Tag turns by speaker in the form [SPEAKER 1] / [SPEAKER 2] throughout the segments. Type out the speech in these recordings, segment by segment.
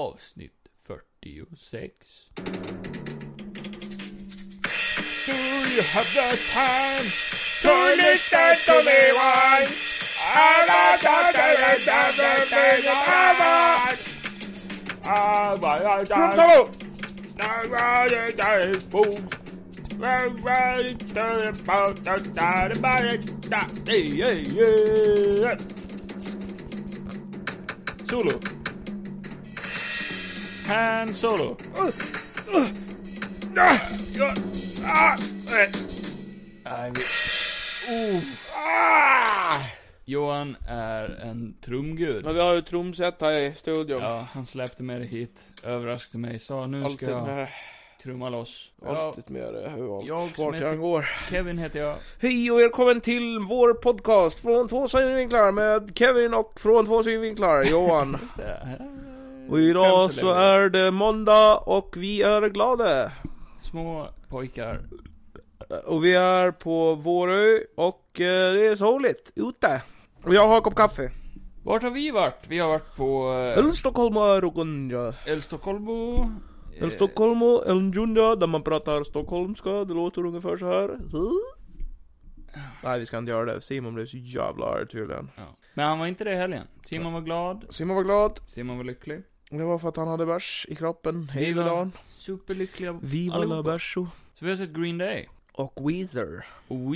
[SPEAKER 1] avsnitt 46.
[SPEAKER 2] Do you have the time
[SPEAKER 1] to listen to me whine?
[SPEAKER 2] I'm
[SPEAKER 1] not talking about everything I want. Oh,
[SPEAKER 2] Solo. Han Solo.
[SPEAKER 1] Nej, vi- Ah! Johan är en trumgud.
[SPEAKER 2] Men vi har ju trumset här i studion.
[SPEAKER 1] Ja, han släppte med det hit, överraskade mig, sa nu
[SPEAKER 2] Allt
[SPEAKER 1] ska
[SPEAKER 2] det
[SPEAKER 1] jag
[SPEAKER 2] mer,
[SPEAKER 1] trumma loss. Ja,
[SPEAKER 2] allt det mer, hur allt,
[SPEAKER 1] jag som
[SPEAKER 2] vart jag
[SPEAKER 1] heter-
[SPEAKER 2] än går.
[SPEAKER 1] Kevin heter jag.
[SPEAKER 2] Hej och välkommen till vår podcast från två synvinklar med Kevin och från två synvinklar Johan.
[SPEAKER 1] Just det.
[SPEAKER 2] och idag
[SPEAKER 1] Skämt
[SPEAKER 2] så
[SPEAKER 1] eller?
[SPEAKER 2] är det måndag och vi är glada.
[SPEAKER 1] Små pojkar.
[SPEAKER 2] Och vi är på Vårö och eh, det är soligt ute. Och jag har en kopp kaffe.
[SPEAKER 1] Vart har vi varit? Vi har varit på eh,
[SPEAKER 2] Ölstockholma Rogonja.
[SPEAKER 1] Älvstockholmo. eh,
[SPEAKER 2] Ölstockholma Elnjunja där man pratar stockholmska. Det låter ungefär så här. Nej vi ska inte göra det. Simon blev så jävla arg tydligen.
[SPEAKER 1] Ja. Men han var inte det i helgen. Simon var glad.
[SPEAKER 2] Simon var glad.
[SPEAKER 1] Simon var lycklig.
[SPEAKER 2] Det var för att han hade bärs i kroppen
[SPEAKER 1] Viva.
[SPEAKER 2] hela dagen.
[SPEAKER 1] Superlyckliga.
[SPEAKER 2] Viva
[SPEAKER 1] Allihopa.
[SPEAKER 2] la bärso.
[SPEAKER 1] Så vi har sett Green Day.
[SPEAKER 2] Och Weezer.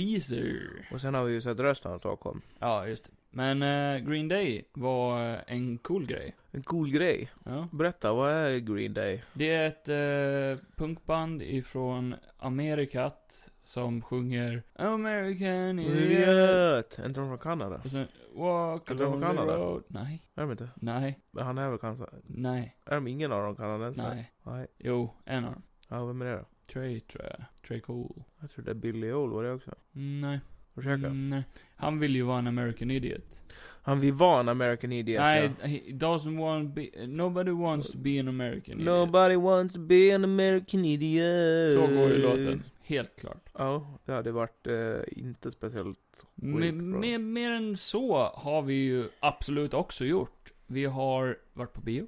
[SPEAKER 1] Weezer.
[SPEAKER 2] Och sen har vi ju sett resten av Stockholm.
[SPEAKER 1] Ja, just det. Men eh, Green Day var eh, en cool grej.
[SPEAKER 2] En cool grej.
[SPEAKER 1] Ja.
[SPEAKER 2] Berätta, vad är Green Day?
[SPEAKER 1] Det är ett eh, punkband ifrån Amerikat som sjunger American Idiot.
[SPEAKER 2] Idiot! Är inte de från Kanada?
[SPEAKER 1] Och sen Walk
[SPEAKER 2] Är de från
[SPEAKER 1] along the
[SPEAKER 2] Kanada?
[SPEAKER 1] road. Nej,
[SPEAKER 2] Är de inte?
[SPEAKER 1] nej,
[SPEAKER 2] Men han är väl kanske...
[SPEAKER 1] nej,
[SPEAKER 2] Är de ingen av dem kanadensare?
[SPEAKER 1] nej.
[SPEAKER 2] Nej.
[SPEAKER 1] Jo, en av dem.
[SPEAKER 2] Ja, vem är det då?
[SPEAKER 1] Trey, tror jag. Trey Cole.
[SPEAKER 2] Jag tror det är Billy Joel var det också.
[SPEAKER 1] Mm, Nej.
[SPEAKER 2] Ursäkta?
[SPEAKER 1] Mm, nej. Han vill ju vara en American Idiot.
[SPEAKER 2] Han vill vara en American Idiot
[SPEAKER 1] nej,
[SPEAKER 2] ja.
[SPEAKER 1] he doesn't want be, nobody wants to be an American Idiot.
[SPEAKER 2] Nobody wants to be an American Idiot.
[SPEAKER 1] Så går ju låten. Helt klart.
[SPEAKER 2] Ja, det hade varit eh, inte speciellt
[SPEAKER 1] Mer,
[SPEAKER 2] Skitbra.
[SPEAKER 1] mer, mer än så har vi ju absolut också gjort. Vi har varit på bio.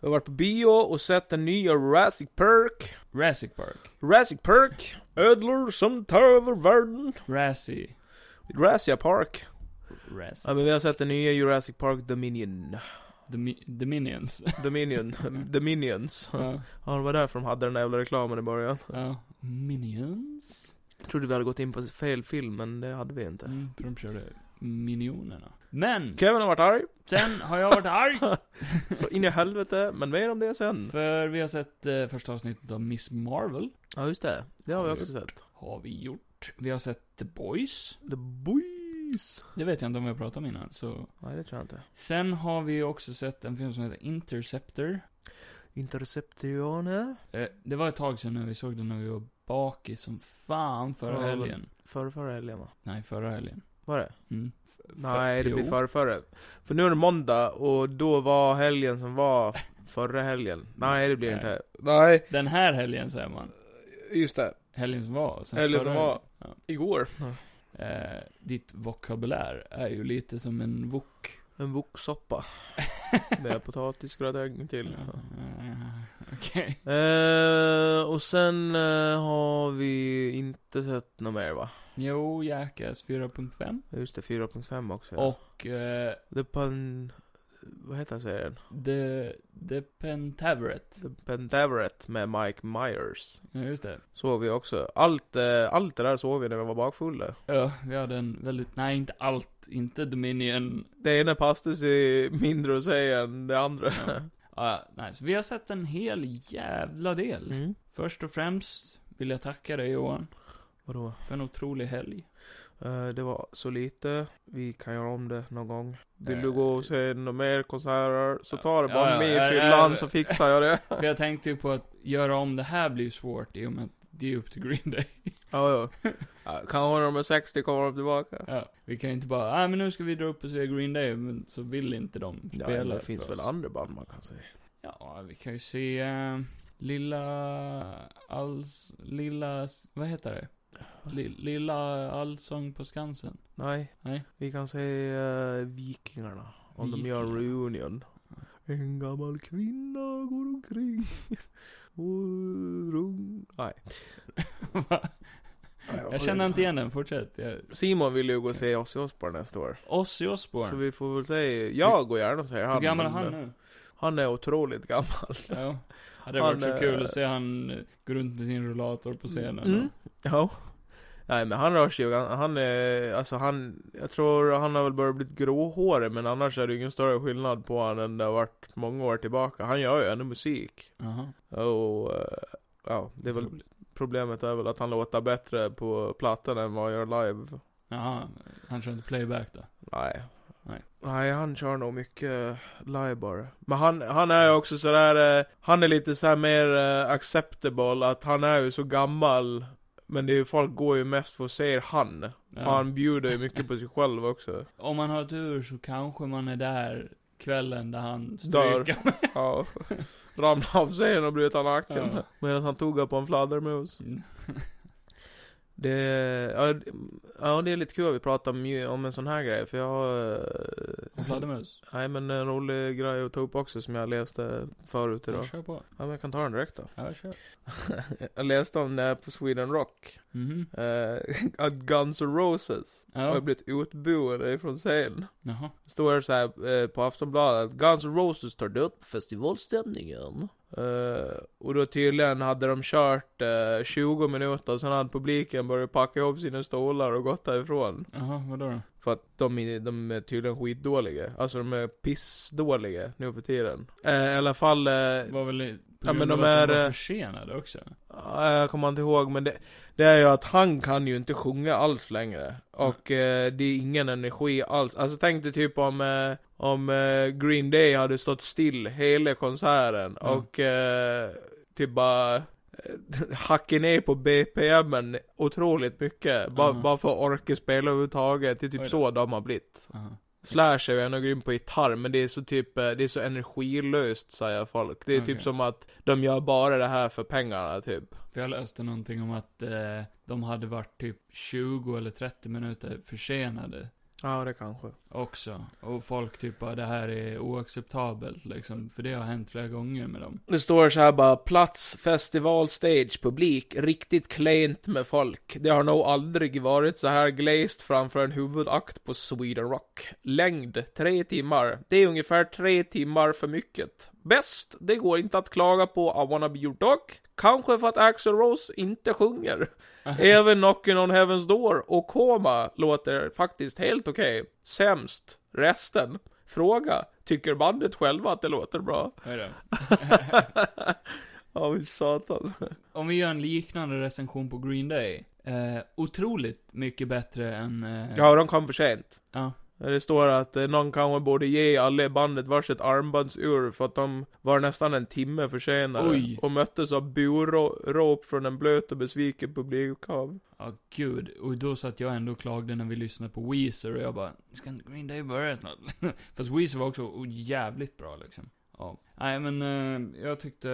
[SPEAKER 2] Jag har varit på bio och sett den nya Jurassic Park.
[SPEAKER 1] Jurassic Park.
[SPEAKER 2] Jurassic Park. Ödlor som tar över världen.
[SPEAKER 1] Razzie.
[SPEAKER 2] Jurassic Park.
[SPEAKER 1] Razzie.
[SPEAKER 2] Ja men vi har sett den nya Jurassic Park Dominion.
[SPEAKER 1] The, Mi- The Minions.
[SPEAKER 2] Dominion. Dominions.
[SPEAKER 1] ja,
[SPEAKER 2] Ja det var därför de hade den där jävla reklamen i början.
[SPEAKER 1] ja. Minions?
[SPEAKER 2] Jag trodde vi hade gått in på fel film men det hade vi inte.
[SPEAKER 1] Mm, för de körde Minionerna. Men!
[SPEAKER 2] Kevin har varit arg.
[SPEAKER 1] Sen har jag varit arg.
[SPEAKER 2] Så in i helvete. Men mer om det sen.
[SPEAKER 1] För vi har sett eh, första avsnittet av Miss Marvel.
[SPEAKER 2] Ja just det. Det har vi
[SPEAKER 1] Har vi
[SPEAKER 2] också sett.
[SPEAKER 1] Har vi gjort. Vi har sett The Boys.
[SPEAKER 2] The Boys.
[SPEAKER 1] Det vet jag inte om vi har pratat om innan, så.
[SPEAKER 2] Nej det tror jag inte.
[SPEAKER 1] Sen har vi också sett en film som heter Interceptor.
[SPEAKER 2] Interceptione.
[SPEAKER 1] Eh, Det var ett tag sedan när vi såg den när vi var bakis som fan förra
[SPEAKER 2] Ja, men-
[SPEAKER 1] helgen.
[SPEAKER 2] Förra förra helgen va?
[SPEAKER 1] Nej, förra helgen.
[SPEAKER 2] Var det?
[SPEAKER 1] Mm. F- för-
[SPEAKER 2] Nej, det blir
[SPEAKER 1] jo.
[SPEAKER 2] förra, förra. För nu är det måndag och då var helgen som var förra helgen. Nej, det blir
[SPEAKER 1] Nej.
[SPEAKER 2] inte. Nej,
[SPEAKER 1] Den här helgen säger man.
[SPEAKER 2] just det.
[SPEAKER 1] Helgen som var. sen
[SPEAKER 2] Helgen
[SPEAKER 1] förra
[SPEAKER 2] som var.
[SPEAKER 1] helgen.
[SPEAKER 2] Igår.
[SPEAKER 1] Ja. Eh, ditt vokabulär är ju lite som en wok.
[SPEAKER 2] En voksoppa. Med potatisgratäng till.
[SPEAKER 1] Eh, Okej.
[SPEAKER 2] Eh, och sen eh, har vi inte sett något mer va?
[SPEAKER 1] Jo, Jackass 4.5.
[SPEAKER 2] Just det, 4.5 också. ja.
[SPEAKER 1] Och eh,
[SPEAKER 2] The Pan... Vad heter serien?
[SPEAKER 1] The, the Pentaveret.
[SPEAKER 2] The Pentaveret med Mike Myers.
[SPEAKER 1] Ja, just det.
[SPEAKER 2] Såg vi också. Allt, eh, allt det där såg vi när vi var bakfulla.
[SPEAKER 1] Ja, vi hade en väldigt, nej inte allt, inte Dominion
[SPEAKER 2] Det ena passade sig mindre att säga än det andra.
[SPEAKER 1] Ja. Ja, nej, så vi har sett en hel jävla del.
[SPEAKER 2] Mm.
[SPEAKER 1] Först och främst vill jag tacka dig Johan,
[SPEAKER 2] Vadå?
[SPEAKER 1] för en otrolig helg.
[SPEAKER 2] Eh, det var så lite. Vi kan göra om det någon gång. Vill
[SPEAKER 1] Eh.
[SPEAKER 2] du gå och se några mer konserter så ta det
[SPEAKER 1] Ja,
[SPEAKER 2] bara
[SPEAKER 1] ja,
[SPEAKER 2] med
[SPEAKER 1] ja,
[SPEAKER 2] i
[SPEAKER 1] ja,
[SPEAKER 2] fyllan
[SPEAKER 1] ja.
[SPEAKER 2] så fixar jag det.
[SPEAKER 1] För jag tänkte ju på att göra om det här blir ju svårt i och med att det är upp till Green Day.
[SPEAKER 2] ja, ja. Ja, Kanske när de är 60 kommer de tillbaka.
[SPEAKER 1] Ja, vi kan ju inte bara, ah, men nu ska vi dra upp och se Green Day, men så vill inte de
[SPEAKER 2] Ja,
[SPEAKER 1] spela
[SPEAKER 2] men det
[SPEAKER 1] för
[SPEAKER 2] finns
[SPEAKER 1] oss.
[SPEAKER 2] väl andra band man kan se.
[SPEAKER 1] Ja, vi kan ju se eh, Lilla Alls... Lilla... Vad heter det? Li- Lilla Allsång på Skansen.
[SPEAKER 2] Nej.
[SPEAKER 1] Nej.
[SPEAKER 2] Vi kan se eh, Vikingarna. Om de gör
[SPEAKER 1] Vikingarna.
[SPEAKER 2] reunion. En gammal kvinna går omkring och rung... Nej.
[SPEAKER 1] Va? Jag känner inte igen den, fortsätt. Jag...
[SPEAKER 2] Simon vill ju gå och se Ozzy Osbourne nästa år.
[SPEAKER 1] Ozzy
[SPEAKER 2] Så
[SPEAKER 1] Osbourne.
[SPEAKER 2] vi får väl säga, jag går gärna och säger han.
[SPEAKER 1] Hur gammal är
[SPEAKER 2] men,
[SPEAKER 1] han
[SPEAKER 2] eh,
[SPEAKER 1] nu?
[SPEAKER 2] Han är otroligt gammal.
[SPEAKER 1] Ja. Hade det
[SPEAKER 2] Han,
[SPEAKER 1] varit så
[SPEAKER 2] eh,
[SPEAKER 1] kul att se han eh, gå runt med sin rullator på scenen.
[SPEAKER 2] Mm. Ja. Nej men han rör sig ju, gan- han är, alltså han, jag tror han har väl börjat bli gråhårig men annars är det ju ingen större skillnad på han än det har varit många år tillbaka. Han gör ju ändå musik.
[SPEAKER 1] Jaha.
[SPEAKER 2] Och, eh, ja, det är väl
[SPEAKER 1] Otroligt.
[SPEAKER 2] problemet är väl att han låter bättre på plattan än vad han gör live.
[SPEAKER 1] Jaha, han kör inte playback då?
[SPEAKER 2] Nej.
[SPEAKER 1] Nej.
[SPEAKER 2] Nej, han kör nog mycket live bara. Men han, han är ju också sådär, eh, han är lite såhär mer eh, acceptable, att han är ju så gammal. Men det är ju, folk går ju mest för att se han.
[SPEAKER 1] Ja.
[SPEAKER 2] För han bjuder ju mycket på sig själv också.
[SPEAKER 1] Om man har tur så kanske man är där kvällen där han
[SPEAKER 2] Dör.
[SPEAKER 1] stryker.
[SPEAKER 2] Ja. Ramlade av scenen och bröt han nacken.
[SPEAKER 1] Ja.
[SPEAKER 2] Medan han tog på en fladdermus.
[SPEAKER 1] Mm.
[SPEAKER 2] Det, ja, det- ja, det är lite kul att vi pratar om, ju- om en sån här grej, för jag har...
[SPEAKER 1] Och
[SPEAKER 2] eh,
[SPEAKER 1] fladdermus.
[SPEAKER 2] Nej men en rolig grej att ta upp också som jag läste förut
[SPEAKER 1] Ja,
[SPEAKER 2] idag.
[SPEAKER 1] kör på.
[SPEAKER 2] Ja men jag kan ta den direkt då.
[SPEAKER 1] Ja, kör.
[SPEAKER 2] jag läste om det här på Sweden Rock.
[SPEAKER 1] Mhm.
[SPEAKER 2] Eh, att Guns N' Roses har
[SPEAKER 1] Ja.
[SPEAKER 2] blivit utbuade ifrån scen.
[SPEAKER 1] Jaha.
[SPEAKER 2] Det Står det så här eh, på Aftonbladet, att Guns N' Roses tar död på festivalstämningen. Eh, och då tydligen hade de kört eh, 20 minuter, sen hade publiken börjat packa ihop sina stolar och gått därifrån.
[SPEAKER 1] Jaha, vadå då?
[SPEAKER 2] För att de är, de är tydligen skitdåliga. Alltså de är pissdåliga nu för tiden. Eh, I alla fall, eh,
[SPEAKER 1] Var väl i- på
[SPEAKER 2] Ja,
[SPEAKER 1] grund
[SPEAKER 2] men
[SPEAKER 1] av
[SPEAKER 2] de
[SPEAKER 1] att de
[SPEAKER 2] är,
[SPEAKER 1] var
[SPEAKER 2] eh,
[SPEAKER 1] försenade också?
[SPEAKER 2] ja, jag kommer inte ihåg men det, det är ju att han kan ju inte sjunga alls längre. Och eh, det är ingen energi alls. Alltså tänk dig typ om, eh, om eh, Green Day hade stått still hela konserten
[SPEAKER 1] Mm.
[SPEAKER 2] och eh, typ bara eh, hacka ner på BPMen otroligt mycket. Bara,
[SPEAKER 1] Mm.
[SPEAKER 2] bara för att orka spela överhuvudtaget. Det är
[SPEAKER 1] Oj då.
[SPEAKER 2] typ så de har blivit.
[SPEAKER 1] Jaha.
[SPEAKER 2] Slash är ju ändå grym på gitarr, men det är så typ, eh, det är så energilöst säger folk. Det är
[SPEAKER 1] Okej.
[SPEAKER 2] typ som att de gör bara det här för pengarna typ.
[SPEAKER 1] För jag läste någonting om att eh, de hade varit typ 20 eller 30 minuter försenade
[SPEAKER 2] Ja, det kanske.
[SPEAKER 1] också. Och folk typ bara, det här är oacceptabelt liksom. För det har hänt flera gånger med dem.
[SPEAKER 2] Det står så här bara, plats, festival, stage, publik, riktigt klent med folk. Det har nog aldrig varit så här glazed framför en huvudakt på Sweden Rock. Längd, tre timmar. Det är ungefär tre timmar för mycket. Bäst, det går inte att klaga på I wanna be your dog. Kanske för att Axl Rose inte sjunger. Även Knockin' on Heaven's Door och Koma låter faktiskt helt okej. Sämst, resten. Fråga, tycker bandet själva att det låter bra?
[SPEAKER 1] Vad är det?
[SPEAKER 2] Ja, fy satan.
[SPEAKER 1] Om vi gör en liknande recension på Green Day. Eh, otroligt mycket bättre än... Eh,
[SPEAKER 2] Ja, de kom för sent.
[SPEAKER 1] Ja.
[SPEAKER 2] Det står att eh, någon kanske borde ge alla i bandet varsitt armbandsur för att de var nästan en timme försenade.
[SPEAKER 1] Oj.
[SPEAKER 2] Och möttes av burop från en blöt och besviken publikhav.
[SPEAKER 1] Ja, gud. Och då satt jag ändå och klagade när vi lyssnade på Weezer och jag bara, ska inte Green Day börja snart? Fast Weezer var också oh, jävligt bra liksom. Ja. Nej men, eh, jag tyckte,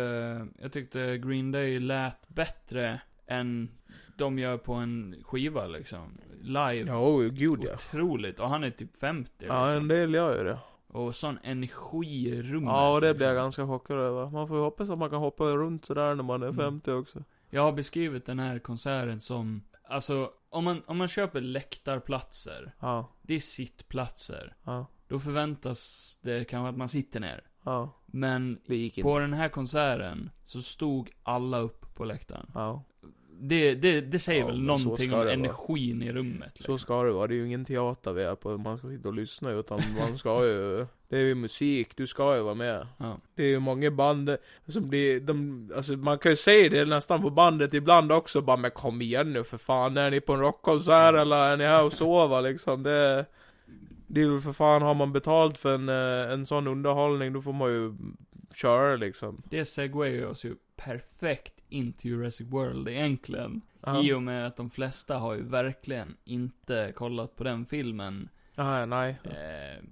[SPEAKER 1] jag tyckte Green Day lät bättre än de gör på en skiva liksom. Live.
[SPEAKER 2] Ja, oh, gud ja.
[SPEAKER 1] Otroligt. Och han är typ 50
[SPEAKER 2] Ja, en
[SPEAKER 1] liksom.
[SPEAKER 2] del gör ju det.
[SPEAKER 1] Och sån energi i rummet.
[SPEAKER 2] Ja, och det blir jag
[SPEAKER 1] liksom.
[SPEAKER 2] ganska chockad över. Man får ju hoppas att man kan hoppa runt sådär när man är
[SPEAKER 1] Mm.
[SPEAKER 2] 50 också.
[SPEAKER 1] Jag har beskrivit den här konserten som, alltså, om man, om man köper läktarplatser,
[SPEAKER 2] Ja,
[SPEAKER 1] det är sittplatser.
[SPEAKER 2] ja,
[SPEAKER 1] Då förväntas det kanske att man sitter ner.
[SPEAKER 2] ja.
[SPEAKER 1] Men
[SPEAKER 2] Det gick
[SPEAKER 1] på den här konserten så stod alla upp på läktaren.
[SPEAKER 2] Ja,
[SPEAKER 1] Det, det, det säger
[SPEAKER 2] Ja,
[SPEAKER 1] väl
[SPEAKER 2] men så
[SPEAKER 1] någonting
[SPEAKER 2] ska
[SPEAKER 1] om
[SPEAKER 2] det vara.
[SPEAKER 1] energin i rummet. liksom.
[SPEAKER 2] så ska det vara. Det är ju ingen teater vi är på, man ska sitta och lyssna utan man ska ju... Det är ju musik, du ska ju vara med.
[SPEAKER 1] Ja.
[SPEAKER 2] Det är ju många band som blir, de, alltså man kan ju säga det nästan på bandet ibland också bara men kom igen nu för fan, är ni på en
[SPEAKER 1] Mm.
[SPEAKER 2] rockkonsert eller är ni här och sover liksom? Det, det är väl för fan, har man betalt för en, eh, en sån underhållning då får man ju köra liksom.
[SPEAKER 1] Det segwayar oss ju perfekt in till Jurassic World egentligen.
[SPEAKER 2] Ja.
[SPEAKER 1] I och med att de flesta har ju verkligen inte kollat på den filmen.
[SPEAKER 2] Nej, nej.
[SPEAKER 1] Eh,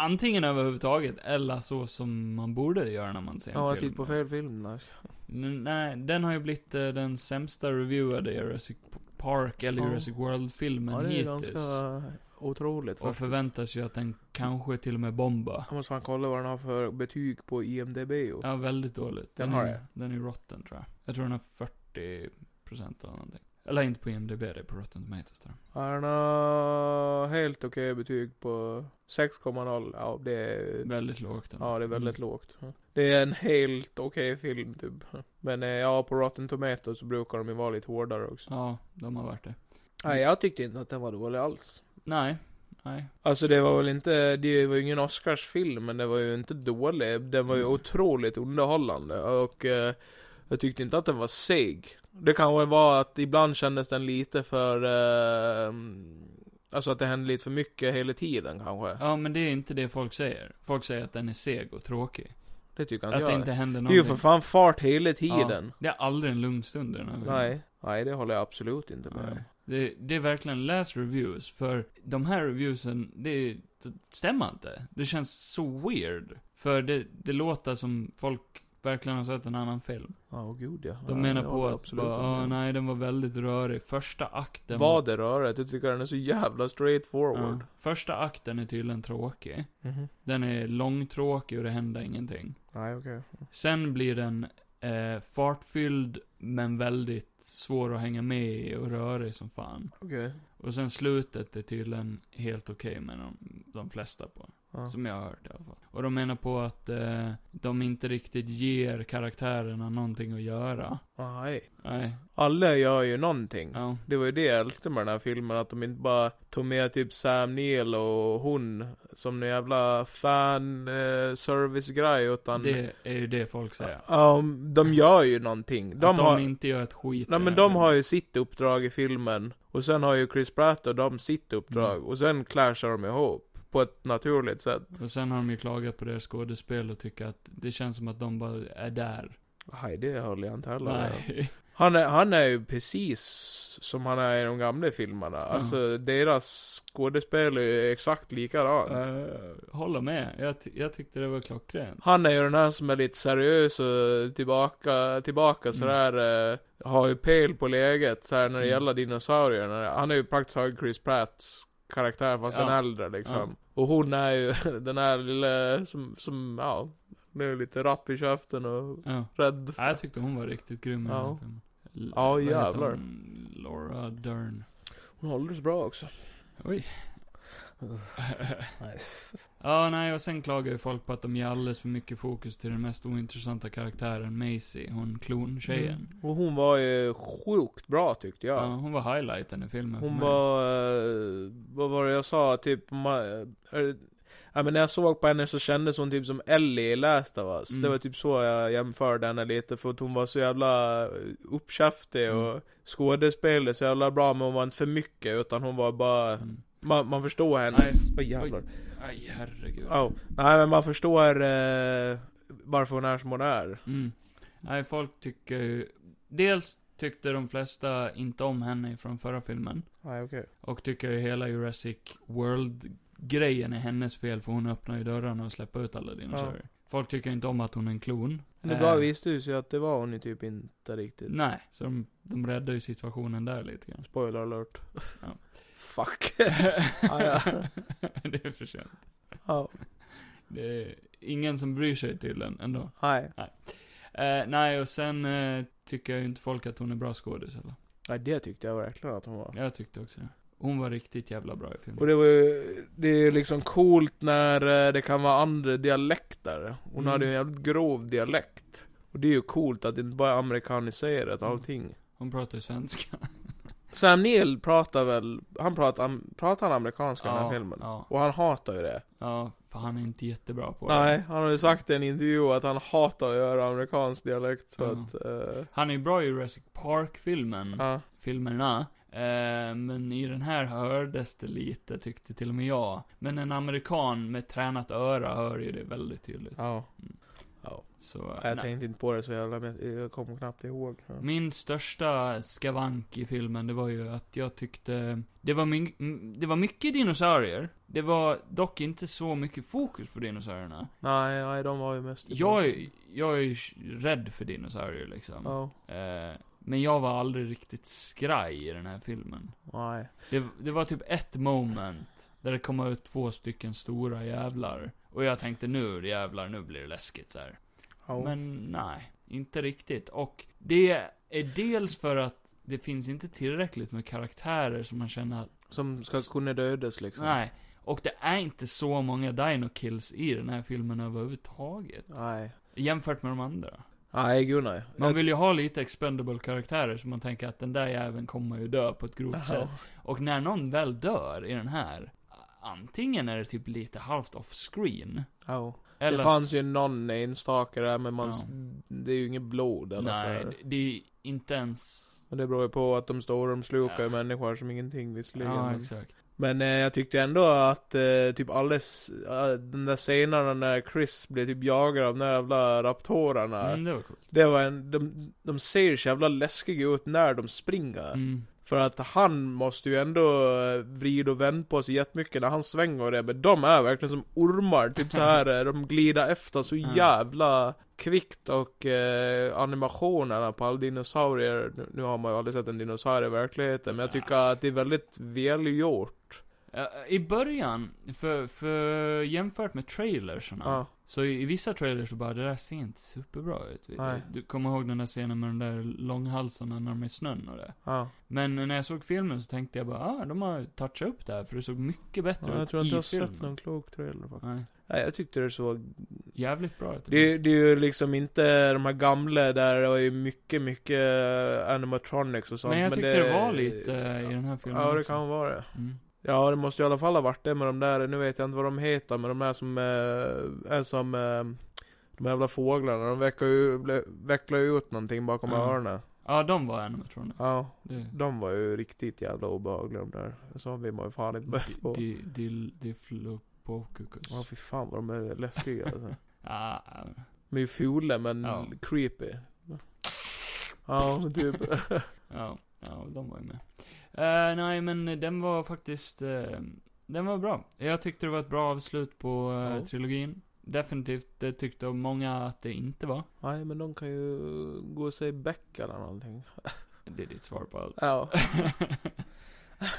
[SPEAKER 1] antingen överhuvudtaget, eller så som man borde göra när man ser en
[SPEAKER 2] Ja, jag
[SPEAKER 1] film.
[SPEAKER 2] tittar på fel film där.
[SPEAKER 1] N- Nej, den har ju blivit eh, den sämsta reviewade Jurassic Park eller
[SPEAKER 2] Ja.
[SPEAKER 1] Jurassic World-filmen
[SPEAKER 2] Ja, det är
[SPEAKER 1] hittills.
[SPEAKER 2] ganska otroligt
[SPEAKER 1] Och
[SPEAKER 2] faktiskt.
[SPEAKER 1] förväntas ju att den kanske till och med bombar.
[SPEAKER 2] Jag måste fan kolla vad den har för betyg på IMDB. och-
[SPEAKER 1] Ja, väldigt dåligt.
[SPEAKER 2] Den
[SPEAKER 1] Den,
[SPEAKER 2] har
[SPEAKER 1] är, den är rotten tror jag. Jag tror den har 40% eller någonting. Eller inte på IMDB, det är på Rotten Tomatoes där.
[SPEAKER 2] Han har helt okej betyg på 6,0. Ja, det är,
[SPEAKER 1] Väldigt lågt. ändå.
[SPEAKER 2] ja, det är väldigt
[SPEAKER 1] Mm.
[SPEAKER 2] lågt. Det är en helt okej film typ. Men eh, ja, på Rotten Tomatoes så brukar de ju vara lite hårdare också.
[SPEAKER 1] Ja, de har varit det.
[SPEAKER 2] Nej, jag tyckte inte att den var dålig alls.
[SPEAKER 1] Nej, nej.
[SPEAKER 2] Alltså det var väl inte, det var ju ingen Oscarsfilm men det var ju inte dålig. Den var ju
[SPEAKER 1] Mm.
[SPEAKER 2] otroligt underhållande och eh, jag tyckte inte att den var seg. Det kan väl vara att ibland kändes den lite för, eh, alltså att det hände lite för mycket hela tiden kanske.
[SPEAKER 1] Ja, men det är inte det folk säger. Folk säger att den är seg och tråkig.
[SPEAKER 2] Det tycker
[SPEAKER 1] Att
[SPEAKER 2] inte jag.
[SPEAKER 1] det inte händer
[SPEAKER 2] det är ju
[SPEAKER 1] någonting.
[SPEAKER 2] för fan fart hela tiden.
[SPEAKER 1] Det är aldrig en lugn stund i den här filmen.
[SPEAKER 2] Nej, nej det håller jag absolut inte med om.
[SPEAKER 1] Nej. Det, det är verkligen läs reviews, för de här reviewsen, det, det stämmer inte. Det känns så weird. För det, det låter som folk verkligen har sett en annan film.
[SPEAKER 2] Ja, åh gud ja.
[SPEAKER 1] De
[SPEAKER 2] Nej,
[SPEAKER 1] menar
[SPEAKER 2] det
[SPEAKER 1] på
[SPEAKER 2] håller jag
[SPEAKER 1] att,
[SPEAKER 2] absolut
[SPEAKER 1] bara,
[SPEAKER 2] inte med
[SPEAKER 1] "Ah,
[SPEAKER 2] om."
[SPEAKER 1] nej, den var väldigt rörig. Första akten...
[SPEAKER 2] Vad det röret? Jag tycker den är så jävla straight
[SPEAKER 1] ja,
[SPEAKER 2] forward.
[SPEAKER 1] första akten är tydligen tråkig. Den är långtråkig och det händer ingenting.
[SPEAKER 2] Mhm. Nej, okej.
[SPEAKER 1] Sen blir den eh, fartfylld, men väldigt svår att hänga med i och rörig som fan.
[SPEAKER 2] Okej.
[SPEAKER 1] Och sen slutet är tydligen helt okej med de, de flesta på.
[SPEAKER 2] Ja.
[SPEAKER 1] Som jag har hört i alla fall. Och de menar på att eh, de inte riktigt ger karaktärerna någonting att göra.
[SPEAKER 2] Nej.
[SPEAKER 1] Nej,
[SPEAKER 2] Alla gör ju någonting.
[SPEAKER 1] ja.
[SPEAKER 2] Det var ju det jag älskade med den här filmen, att de inte bara tog med typ Sam Neill och hon som en jävla fan eh, service-grej, utan...
[SPEAKER 1] Det är ju det folk säger.
[SPEAKER 2] Ja, um, de gör ju någonting.
[SPEAKER 1] De att
[SPEAKER 2] De
[SPEAKER 1] de
[SPEAKER 2] har...
[SPEAKER 1] inte gör ett skit. i
[SPEAKER 2] Nej men
[SPEAKER 1] den
[SPEAKER 2] de
[SPEAKER 1] här
[SPEAKER 2] har ju sitt uppdrag i filmen. Och sen har ju Chris Pratt och de sitt uppdrag.
[SPEAKER 1] Mm.
[SPEAKER 2] Och sen clashar de ihop. På ett naturligt sätt.
[SPEAKER 1] filmen. Och sen har de ju klagat på deras skådespel och tycker att det känns som att de bara är där.
[SPEAKER 2] Nej, det håller jag inte heller med om.
[SPEAKER 1] Nej.
[SPEAKER 2] Han är, han är ju precis som han är i de gamla filmerna. Alltså deras skådespel är ju exakt likadant.
[SPEAKER 1] Eh, håller med. Jag, ty- jag tyckte det var klockrent.
[SPEAKER 2] Han är ju den här som är lite seriös och tillbaka, tillbaka sådär. eh, har ju pel på läget såhär när det
[SPEAKER 1] Mm.
[SPEAKER 2] gäller dinosaurierna. Han är ju praktiskt taget Chris Pratts karaktär fast
[SPEAKER 1] Ja.
[SPEAKER 2] den äldre liksom. Och hon är ju den här lilla som, som ja, nu är lite rapp i käften och
[SPEAKER 1] Ja.
[SPEAKER 2] rädd.
[SPEAKER 1] Nej, jag tyckte hon var riktigt grym i den
[SPEAKER 2] Ja.
[SPEAKER 1] här filmen. L-
[SPEAKER 2] Ja,
[SPEAKER 1] vad heter
[SPEAKER 2] jävlar.
[SPEAKER 1] hon? Laura Dern.
[SPEAKER 2] Hon håller sig bra också.
[SPEAKER 1] Oj. ja, nej, och sen klagar ju folk på att de ger alldeles för mycket fokus till den mest ointressanta karaktären, Macy, hon klontjejen.
[SPEAKER 2] Mm. Och hon var ju sjukt bra tyckte jag.
[SPEAKER 1] Ja. hon var highlighten i filmen för
[SPEAKER 2] Hon
[SPEAKER 1] mig.
[SPEAKER 2] var, eh, vad var det jag sa, typ, ma- eh, ja men när jag såg på henne så kändes hon typ som Ellie i Last of Us.
[SPEAKER 1] Mm.
[SPEAKER 2] Det var typ så jag jämförde henne lite, för att hon var så jävla eh, uppkäftig och
[SPEAKER 1] Mm.
[SPEAKER 2] skådespelade så jävla bra, men hon var inte för mycket, utan hon var bara,
[SPEAKER 1] Mm.
[SPEAKER 2] man, man förstår
[SPEAKER 1] Nej.
[SPEAKER 2] hennes, vad jävlar.
[SPEAKER 1] Aj, herregud.
[SPEAKER 2] Ja, nej men man förstår eh, varför hon är som hon är.
[SPEAKER 1] Mm. Nej, folk tycker ju... Dels tyckte de flesta inte om henne från förra filmen.
[SPEAKER 2] Nej okej.
[SPEAKER 1] Och tycker ju hela Jurassic World-grejen är hennes fel, för hon öppnar ju dörrarna och släpper ut alla dinosaurier. Folk tycker inte om att hon är en klon.
[SPEAKER 2] Men det
[SPEAKER 1] Eh,
[SPEAKER 2] bara visste ju sig att det var hon ju typ inte riktigt.
[SPEAKER 1] Nej, så de, de räddar ju situationen där lite grann.
[SPEAKER 2] Spoiler alert.
[SPEAKER 1] Ja.
[SPEAKER 2] Fuck. Ah, ja.
[SPEAKER 1] det är för sent.
[SPEAKER 2] Ja.
[SPEAKER 1] Det är ingen som bryr sig tydligen ändå.
[SPEAKER 2] Nej.
[SPEAKER 1] Eh, nej, och sen eh, tycker jag ju inte folk att hon är bra skådis eller.
[SPEAKER 2] Nej, det tyckte jag verkligen att hon var.
[SPEAKER 1] Jag tyckte också det. Hon var riktigt jävla bra i
[SPEAKER 2] Och
[SPEAKER 1] filmen.
[SPEAKER 2] det var ju, det är ju liksom coolt när eh, det kan vara andra dialekter. Hon
[SPEAKER 1] Mm.
[SPEAKER 2] hade ju en jävligt grov dialekt. Och det är ju coolt att det inte bara är amerikaniserat allting.
[SPEAKER 1] Hon pratar ju svenska.
[SPEAKER 2] Sam Neill pratar väl, han pratar, am- pratar han amerikanska i den här
[SPEAKER 1] Ja,
[SPEAKER 2] filmen?
[SPEAKER 1] Ja,
[SPEAKER 2] Och han hatar ju det.
[SPEAKER 1] ja, för han är inte jättebra på
[SPEAKER 2] Nej,
[SPEAKER 1] det.
[SPEAKER 2] han har ju sagt i en intervju att han hatar att göra amerikansk dialekt för
[SPEAKER 1] Ja.
[SPEAKER 2] att, eh,
[SPEAKER 1] Han är ju bra i Jurassic Park-filmen.
[SPEAKER 2] ja.
[SPEAKER 1] filmerna. Eh, men i den här hördes det lite, tyckte till och med jag. Men en amerikan med tränat öra hör ju det väldigt tydligt.
[SPEAKER 2] ja.
[SPEAKER 1] Så,
[SPEAKER 2] Jag
[SPEAKER 1] nej.
[SPEAKER 2] tänkte inte på det så jävla mycket, jag kommer knappt ihåg. Ja.
[SPEAKER 1] Min största skavank i filmen, det var ju att jag tyckte... Det var, my- m- det var mycket dinosaurier. Det var dock inte så mycket fokus på dinosaurierna.
[SPEAKER 2] Nej, nej, de var ju mest
[SPEAKER 1] Jag, är- jag är ju rädd för dinosaurier liksom.
[SPEAKER 2] Ja.
[SPEAKER 1] Eh, Men jag var aldrig riktigt skraj i den här filmen.
[SPEAKER 2] Nej.
[SPEAKER 1] Det, det var typ ett moment, där det kom ut två stycken stora jävlar. Och jag tänkte nu jävlar, nu blir det läskigt så här.
[SPEAKER 2] Ja.
[SPEAKER 1] Men nej, inte riktigt. Och det är dels för att det finns inte tillräckligt med karaktärer som man känner att,
[SPEAKER 2] Som ska kunna dödas liksom.
[SPEAKER 1] nej. Och det är inte så många Dino Kills i den här filmen överhuvudtaget.
[SPEAKER 2] Nej.
[SPEAKER 1] Jämfört med de andra.
[SPEAKER 2] Nej, gud nej.
[SPEAKER 1] Man vill ju ha lite expendable karaktärer så man tänker att den där jäveln kommer ju dö på ett grovt sätt. Och när någon väl dör i den här, antingen är det typ lite halvt off-screen.
[SPEAKER 2] Ja.
[SPEAKER 1] Eller
[SPEAKER 2] Det fanns ju någon enstaka där, men man...
[SPEAKER 1] Ja.
[SPEAKER 2] s- Det är ju inget blod eller
[SPEAKER 1] Nej,
[SPEAKER 2] sådär.
[SPEAKER 1] det- det är inte ens...
[SPEAKER 2] Men det beror ju på att de står och de slukar ju
[SPEAKER 1] Ja.
[SPEAKER 2] människor som ingenting visserligen.
[SPEAKER 1] Ja,
[SPEAKER 2] men-
[SPEAKER 1] exakt.
[SPEAKER 2] Men eh, jag tyckte ändå att eh, typ alldeles, eh, den där scenen när Chris blev typ jagad av de där jävla raptorerna.
[SPEAKER 1] Mm, det var coolt.
[SPEAKER 2] Det var en, de, de ser så jävla läskiga ut när de springer.
[SPEAKER 1] Mm.
[SPEAKER 2] För att han måste ju ändå eh, vrida och vända på sig jättemycket när han svänger och det. Men de är verkligen som ormar, typ så här. eh, de glider efter så
[SPEAKER 1] Ja.
[SPEAKER 2] jävla kvickt och eh, animationerna på alla dinosaurier. Nu, nu har man ju aldrig sett en dinosaurie i verkligheten, men jag tycker att det är väldigt välgjort.
[SPEAKER 1] Eh, I början, för, för jämfört med trailersarna,
[SPEAKER 2] Ja.
[SPEAKER 1] så i, i vissa trailers så bara, det där ser inte superbra ut.
[SPEAKER 2] Nej.
[SPEAKER 1] Du kommer ihåg den där scenen med de där långhalsarna när de är i snön och det.
[SPEAKER 2] Ja.
[SPEAKER 1] Men när jag såg filmen så tänkte jag bara, ah, de har touchat upp det här, för det såg mycket bättre
[SPEAKER 2] Ja, jag
[SPEAKER 1] ut
[SPEAKER 2] tror inte
[SPEAKER 1] i
[SPEAKER 2] jag har
[SPEAKER 1] filmen.
[SPEAKER 2] sett någon klok trailer faktiskt.
[SPEAKER 1] Nej,
[SPEAKER 2] Nej, jag tyckte det såg...
[SPEAKER 1] jävligt bra ut.
[SPEAKER 2] Det, det är ju liksom inte de här gamla där det var ju mycket, mycket eh, animatronics och sånt.
[SPEAKER 1] men jag tyckte det... var lite eh, i den här filmen
[SPEAKER 2] Ja, det
[SPEAKER 1] också.
[SPEAKER 2] kan vara det.
[SPEAKER 1] Mm.
[SPEAKER 2] Ja, det måste ju i alla fall ha varit det med de där, nu vet jag inte vad de heter, men de där som eh, är som eh, de jävla fåglarna, de vecklar ju, ble- vecklar ju ut någonting bakom
[SPEAKER 1] Ja.
[SPEAKER 2] öronen.
[SPEAKER 1] Ja, de var animatronic.
[SPEAKER 2] Ja,
[SPEAKER 1] Det...
[SPEAKER 2] de var ju riktigt jävla obehagliga de där. Så vill man ju fan inte börja på.
[SPEAKER 1] Di- di- Diplopocucus.
[SPEAKER 2] Ja, fy fan vad de är läskiga alltså.
[SPEAKER 1] Ah, ah.
[SPEAKER 2] De är ju fula men
[SPEAKER 1] Ja.
[SPEAKER 2] creepy. Ja, men typ.
[SPEAKER 1] Ja, ja de var ju med. Eh, nej, men den var faktiskt... eh, den var bra. Jag tyckte det var ett bra avslut på eh,
[SPEAKER 2] Ja.
[SPEAKER 1] trilogin. Definitivt, det tyckte många att det inte var.
[SPEAKER 2] Nej, men de kan ju gå och säga bäck eller någonting.
[SPEAKER 1] Det är ditt svar på allt.
[SPEAKER 2] Ja.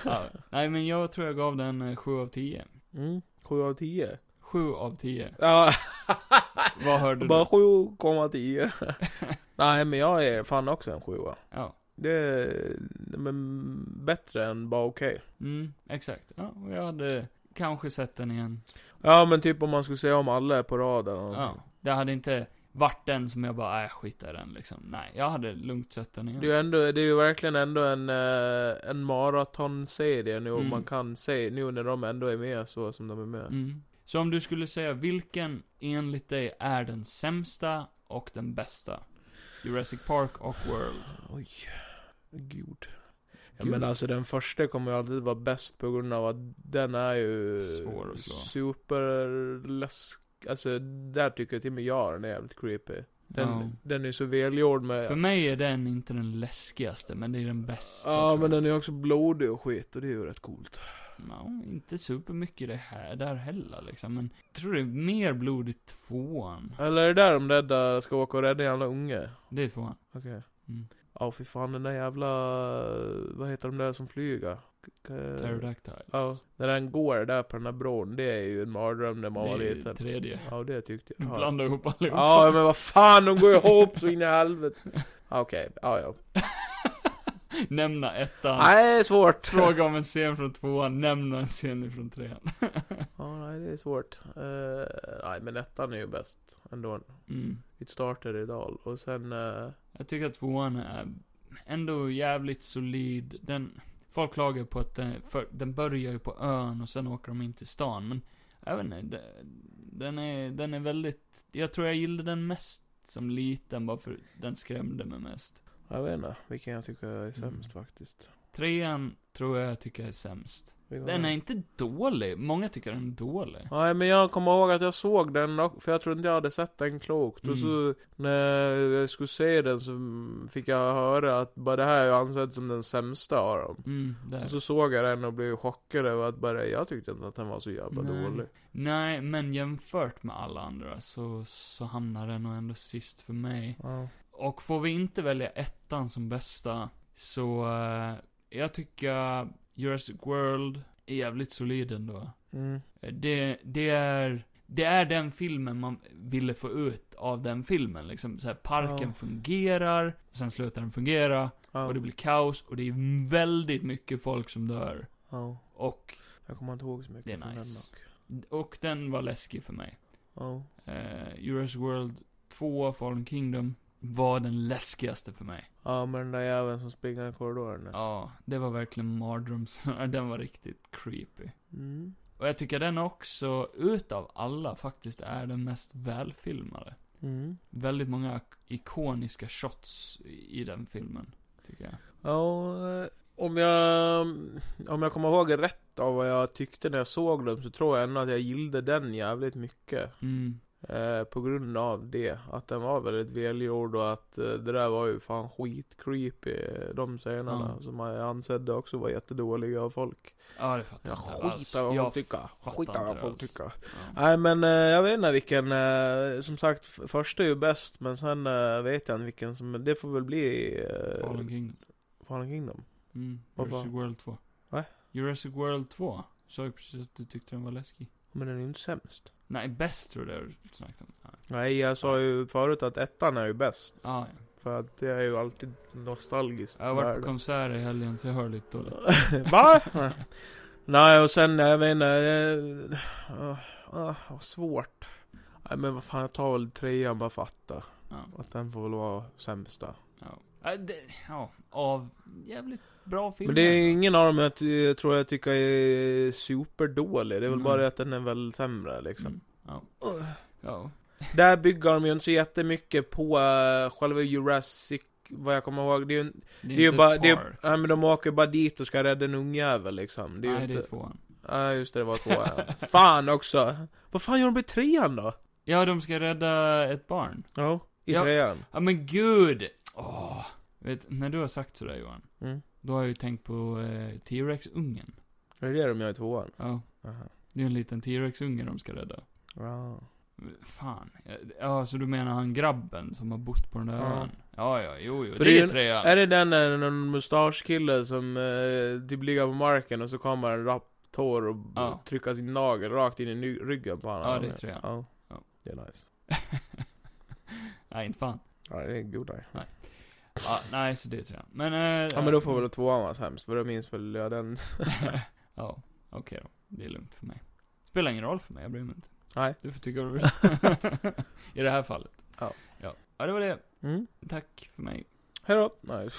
[SPEAKER 1] ja. Nej, men jag tror jag gav den eh, 7 av 10.
[SPEAKER 2] Mm. 7 av 10.
[SPEAKER 1] 7 av 10.
[SPEAKER 2] Ja.
[SPEAKER 1] Vad hörde
[SPEAKER 2] Bara
[SPEAKER 1] du?
[SPEAKER 2] 7,10. Nej, men jag är fan också en 7
[SPEAKER 1] Ja.
[SPEAKER 2] Det är men bättre än bara okej.
[SPEAKER 1] Mm, exakt. Ja, och jag hade kanske sett den igen.
[SPEAKER 2] Ja, men typ om man skulle säga om alla på rad eller
[SPEAKER 1] Ja.
[SPEAKER 2] någonting.
[SPEAKER 1] Det hade inte varit den som jag bara, äh, skit i den liksom. Nej, jag hade lugnt sett den igen.
[SPEAKER 2] Det är ju ändå, det är ju verkligen ändå en, eh, en maratonserie nu och
[SPEAKER 1] Mm.
[SPEAKER 2] man kan se, nu när de ändå är med så som de är med.
[SPEAKER 1] Mm. Så om du skulle säga vilken enligt dig är den sämsta och den bästa? Jurassic Park och World.
[SPEAKER 2] Oj. Gud. Ja,
[SPEAKER 1] Gud.
[SPEAKER 2] men alltså den första kommer ju alltid vara bäst på grund av att den är ju
[SPEAKER 1] Svår att slå.
[SPEAKER 2] superläsk... Alltså där tycker till och med jag den är jävligt creepy. Den,
[SPEAKER 1] Ja.
[SPEAKER 2] den är ju så välgjord med...
[SPEAKER 1] För mig är den inte den läskigaste, men det är den bästa.
[SPEAKER 2] ja
[SPEAKER 1] tror
[SPEAKER 2] men
[SPEAKER 1] jag.
[SPEAKER 2] den är ju också blodig och skit och det är ju rätt coolt.
[SPEAKER 1] Ja, inte supermycket det här, där heller liksom, men jag tror det är mer blod i tvåan.
[SPEAKER 2] Eller är det där de rädda ska åka och rädda en jävla unge?
[SPEAKER 1] Det är tvåan.
[SPEAKER 2] Okej.
[SPEAKER 1] Mm.
[SPEAKER 2] Ja fy fan den där jävla... Vad heter de där som flyger? K-
[SPEAKER 1] Pterodactyls.
[SPEAKER 2] Eh. Ja. När den går där på den där bron, det är ju en mardröm när man var
[SPEAKER 1] det är
[SPEAKER 2] liten.
[SPEAKER 1] ju tredje.
[SPEAKER 2] Ja, det tyckte
[SPEAKER 1] Du
[SPEAKER 2] jag. Ja.
[SPEAKER 1] blandar ihop allihopa.
[SPEAKER 2] Ja, men vad fan, de går ihop så in i helvete. Ja, Okej, ja, ja.
[SPEAKER 1] Nämna ettan.
[SPEAKER 2] Nej, svårt.
[SPEAKER 1] Fråga om en scen från tvåan, nämna en scen från trean.
[SPEAKER 2] Ja, nej, det är svårt. Eh, nej, men ettan är ju bäst ändå.
[SPEAKER 1] Mm.
[SPEAKER 2] It started it all. Och sen... eh,
[SPEAKER 1] Jag tycker att tvåan är ändå jävligt solid. Den, folk klagar på att den, för, den börjar ju på ön och sen åker de in till stan. Men jag vet inte, de- den är, den är väldigt, jag tror jag gillade den mest som liten bara för den skrämde mig mest.
[SPEAKER 2] jag vet inte vilken jag tycker är sämst
[SPEAKER 1] Mm.
[SPEAKER 2] faktiskt.
[SPEAKER 1] Trean tror jag tycker är sämst.
[SPEAKER 2] Vilken
[SPEAKER 1] Den
[SPEAKER 2] var
[SPEAKER 1] är
[SPEAKER 2] det?
[SPEAKER 1] inte dålig, många tycker den är dålig.
[SPEAKER 2] Nej men jag kommer ihåg att jag såg den, och- för jag tror inte jag hade sett den klokt. Och
[SPEAKER 1] Mm.
[SPEAKER 2] så när jag skulle se den så fick jag höra att bara det här är ju ansedd som den sämsta av dem.
[SPEAKER 1] Mm, där.
[SPEAKER 2] Och så såg jag den och blev chockad över att bara jag tyckte inte att den var så jävla
[SPEAKER 1] Nej.
[SPEAKER 2] dålig.
[SPEAKER 1] Nej, men jämfört med alla andra så, så hamnar den nog ändå sist för mig.
[SPEAKER 2] Ja.
[SPEAKER 1] Och får vi inte välja ettan som bästa, så eh, jag tycker Jurassic World är jävligt solid ändå.
[SPEAKER 2] Mm.
[SPEAKER 1] Eh, Det, det är... Det är den filmen man ville få ut av den filmen liksom. Så här, parken
[SPEAKER 2] Ja.
[SPEAKER 1] fungerar, sen slutar den fungera,
[SPEAKER 2] Ja.
[SPEAKER 1] och det blir kaos, och det är väldigt mycket folk som dör.
[SPEAKER 2] ja.
[SPEAKER 1] Och,
[SPEAKER 2] Jag kommer inte ihåg så mycket
[SPEAKER 1] Det är
[SPEAKER 2] från
[SPEAKER 1] nice.
[SPEAKER 2] den dock.
[SPEAKER 1] och den var läskig för mig.
[SPEAKER 2] Ja.
[SPEAKER 1] Eh, Jurassic World 2, Fallen Kingdom, var den läskigaste för mig.
[SPEAKER 2] ja, men den där jäveln som springer i korridoren. där.
[SPEAKER 1] Ja, det var verkligen mardröms... den var riktigt creepy.
[SPEAKER 2] Mm.
[SPEAKER 1] Och jag tycker den också, utav alla, faktiskt är den mest välfilmade.
[SPEAKER 2] Mm.
[SPEAKER 1] Väldigt många ikoniska shots i i den filmen, tycker jag.
[SPEAKER 2] Ja, eh, om jag, mm, om jag kommer ihåg rätt av vad jag tyckte när jag såg dem så tror jag ändå att jag gillade den jävligt mycket.
[SPEAKER 1] Mm.
[SPEAKER 2] Eh, på grund av det. Att den var väldigt välgjord och att eh, det där var ju fan skitcreepy. eh, De scenerna
[SPEAKER 1] Ja.
[SPEAKER 2] som jag ansedde också var jättedåliga av folk.
[SPEAKER 1] Ja, det fattar
[SPEAKER 2] Jag
[SPEAKER 1] inte alls.
[SPEAKER 2] skitar vad
[SPEAKER 1] Jag
[SPEAKER 2] folk tycker.
[SPEAKER 1] fattar
[SPEAKER 2] Skitar vad
[SPEAKER 1] inte det
[SPEAKER 2] folk
[SPEAKER 1] alls.
[SPEAKER 2] tycker.
[SPEAKER 1] Ja.
[SPEAKER 2] Nej men eh, jag vet inte vilken, eh, som sagt f- första är ju bäst men sen eh, vet jag inte vilken som, det får väl bli eh,
[SPEAKER 1] Fallen Kingdom.
[SPEAKER 2] Fallen Kingdom.
[SPEAKER 1] Mm.
[SPEAKER 2] Vad
[SPEAKER 1] Jurassic World 2.
[SPEAKER 2] Va?
[SPEAKER 1] Jurassic World 2. Sa ju precis att du tyckte den var läskig.
[SPEAKER 2] Men den är ju inte sämst.
[SPEAKER 1] Nej, bäst tror jag du snackade om. Ja,
[SPEAKER 2] Nej jag sa ju förut att ettan är ju bäst.
[SPEAKER 1] ah, ja.
[SPEAKER 2] För att det är ju alltid nostalgiskt.
[SPEAKER 1] Jag har varit
[SPEAKER 2] värde.
[SPEAKER 1] på konsert i helgen så jag hör lite dåligt.
[SPEAKER 2] Va? Nej, och sen, jag vet inte. eh, ah, ah, vad svårt. Nej, men vad fan, jag tar väl trean bara för att, då.
[SPEAKER 1] Ja.
[SPEAKER 2] att den får väl vara sämsta.
[SPEAKER 1] Ja. Ja, det, ja, av jävligt bra filmer.
[SPEAKER 2] Men det är ingen av dem jag, ty- jag tror jag tycker är superdålig. Det är väl
[SPEAKER 1] Mm.
[SPEAKER 2] bara det att den är väl sämre liksom.
[SPEAKER 1] Mm. Ja. ja.
[SPEAKER 2] Där bygger de ju inte så jättemycket på eh, själva Jurassic, vad jag kommer ihåg. Det är ju, en-
[SPEAKER 1] Det
[SPEAKER 2] det
[SPEAKER 1] är,
[SPEAKER 2] är ju
[SPEAKER 1] inte
[SPEAKER 2] bara,
[SPEAKER 1] ett
[SPEAKER 2] det är,
[SPEAKER 1] par.
[SPEAKER 2] nej, men de åker bara dit och ska rädda en ungjävel liksom. Det är ju
[SPEAKER 1] Nej,
[SPEAKER 2] inte,
[SPEAKER 1] det är tvåan.
[SPEAKER 2] Ja just det, det var två ja. Fan också! Vad fan gör de i trean då?
[SPEAKER 1] Ja, de ska rädda ett barn.
[SPEAKER 2] Ja. I
[SPEAKER 1] Ja.
[SPEAKER 2] trean?
[SPEAKER 1] Ja, men gud! Åh. Vet, när du har sagt sådär Johan,
[SPEAKER 2] Mm.
[SPEAKER 1] då har jag ju tänkt på eh, T-Rex-ungen.
[SPEAKER 2] Är det det de gör i tvåan?
[SPEAKER 1] Ja,
[SPEAKER 2] Aha.
[SPEAKER 1] det är en liten T-Rex-unge de ska rädda.
[SPEAKER 2] Ja.
[SPEAKER 1] Fan. Ja, så du menar han grabben som har bott på den där
[SPEAKER 2] Ja.
[SPEAKER 1] ön? Ja, ja, jo, jo.
[SPEAKER 2] För
[SPEAKER 1] det
[SPEAKER 2] det är
[SPEAKER 1] är
[SPEAKER 2] ju-
[SPEAKER 1] trean.
[SPEAKER 2] Är det den där någon mustaschkille som eh, typ ligger på marken och så kommer en raptor och
[SPEAKER 1] Ja.
[SPEAKER 2] trycker sin nagel rakt in i ny- ryggen på honom?
[SPEAKER 1] Ja, det är trean.
[SPEAKER 2] Ja.
[SPEAKER 1] Ja.
[SPEAKER 2] Det är nice.
[SPEAKER 1] Nej, inte fan.
[SPEAKER 2] Ja, det är god dag.
[SPEAKER 1] Ja, nej, så det är trean. Men... Eh,
[SPEAKER 2] Ja men då får väl tvåan vara sämst, för då minns väl jag den.
[SPEAKER 1] ja, okej då. Det är lugnt för mig. Spelar ingen roll för mig, jag bryr mig inte.
[SPEAKER 2] Nej.
[SPEAKER 1] Du får tycka vad du vill. I det här fallet.
[SPEAKER 2] Ja.
[SPEAKER 1] ja. Ja, det var det.
[SPEAKER 2] Mm.
[SPEAKER 1] Tack för mig.
[SPEAKER 2] Hejdå! Nej.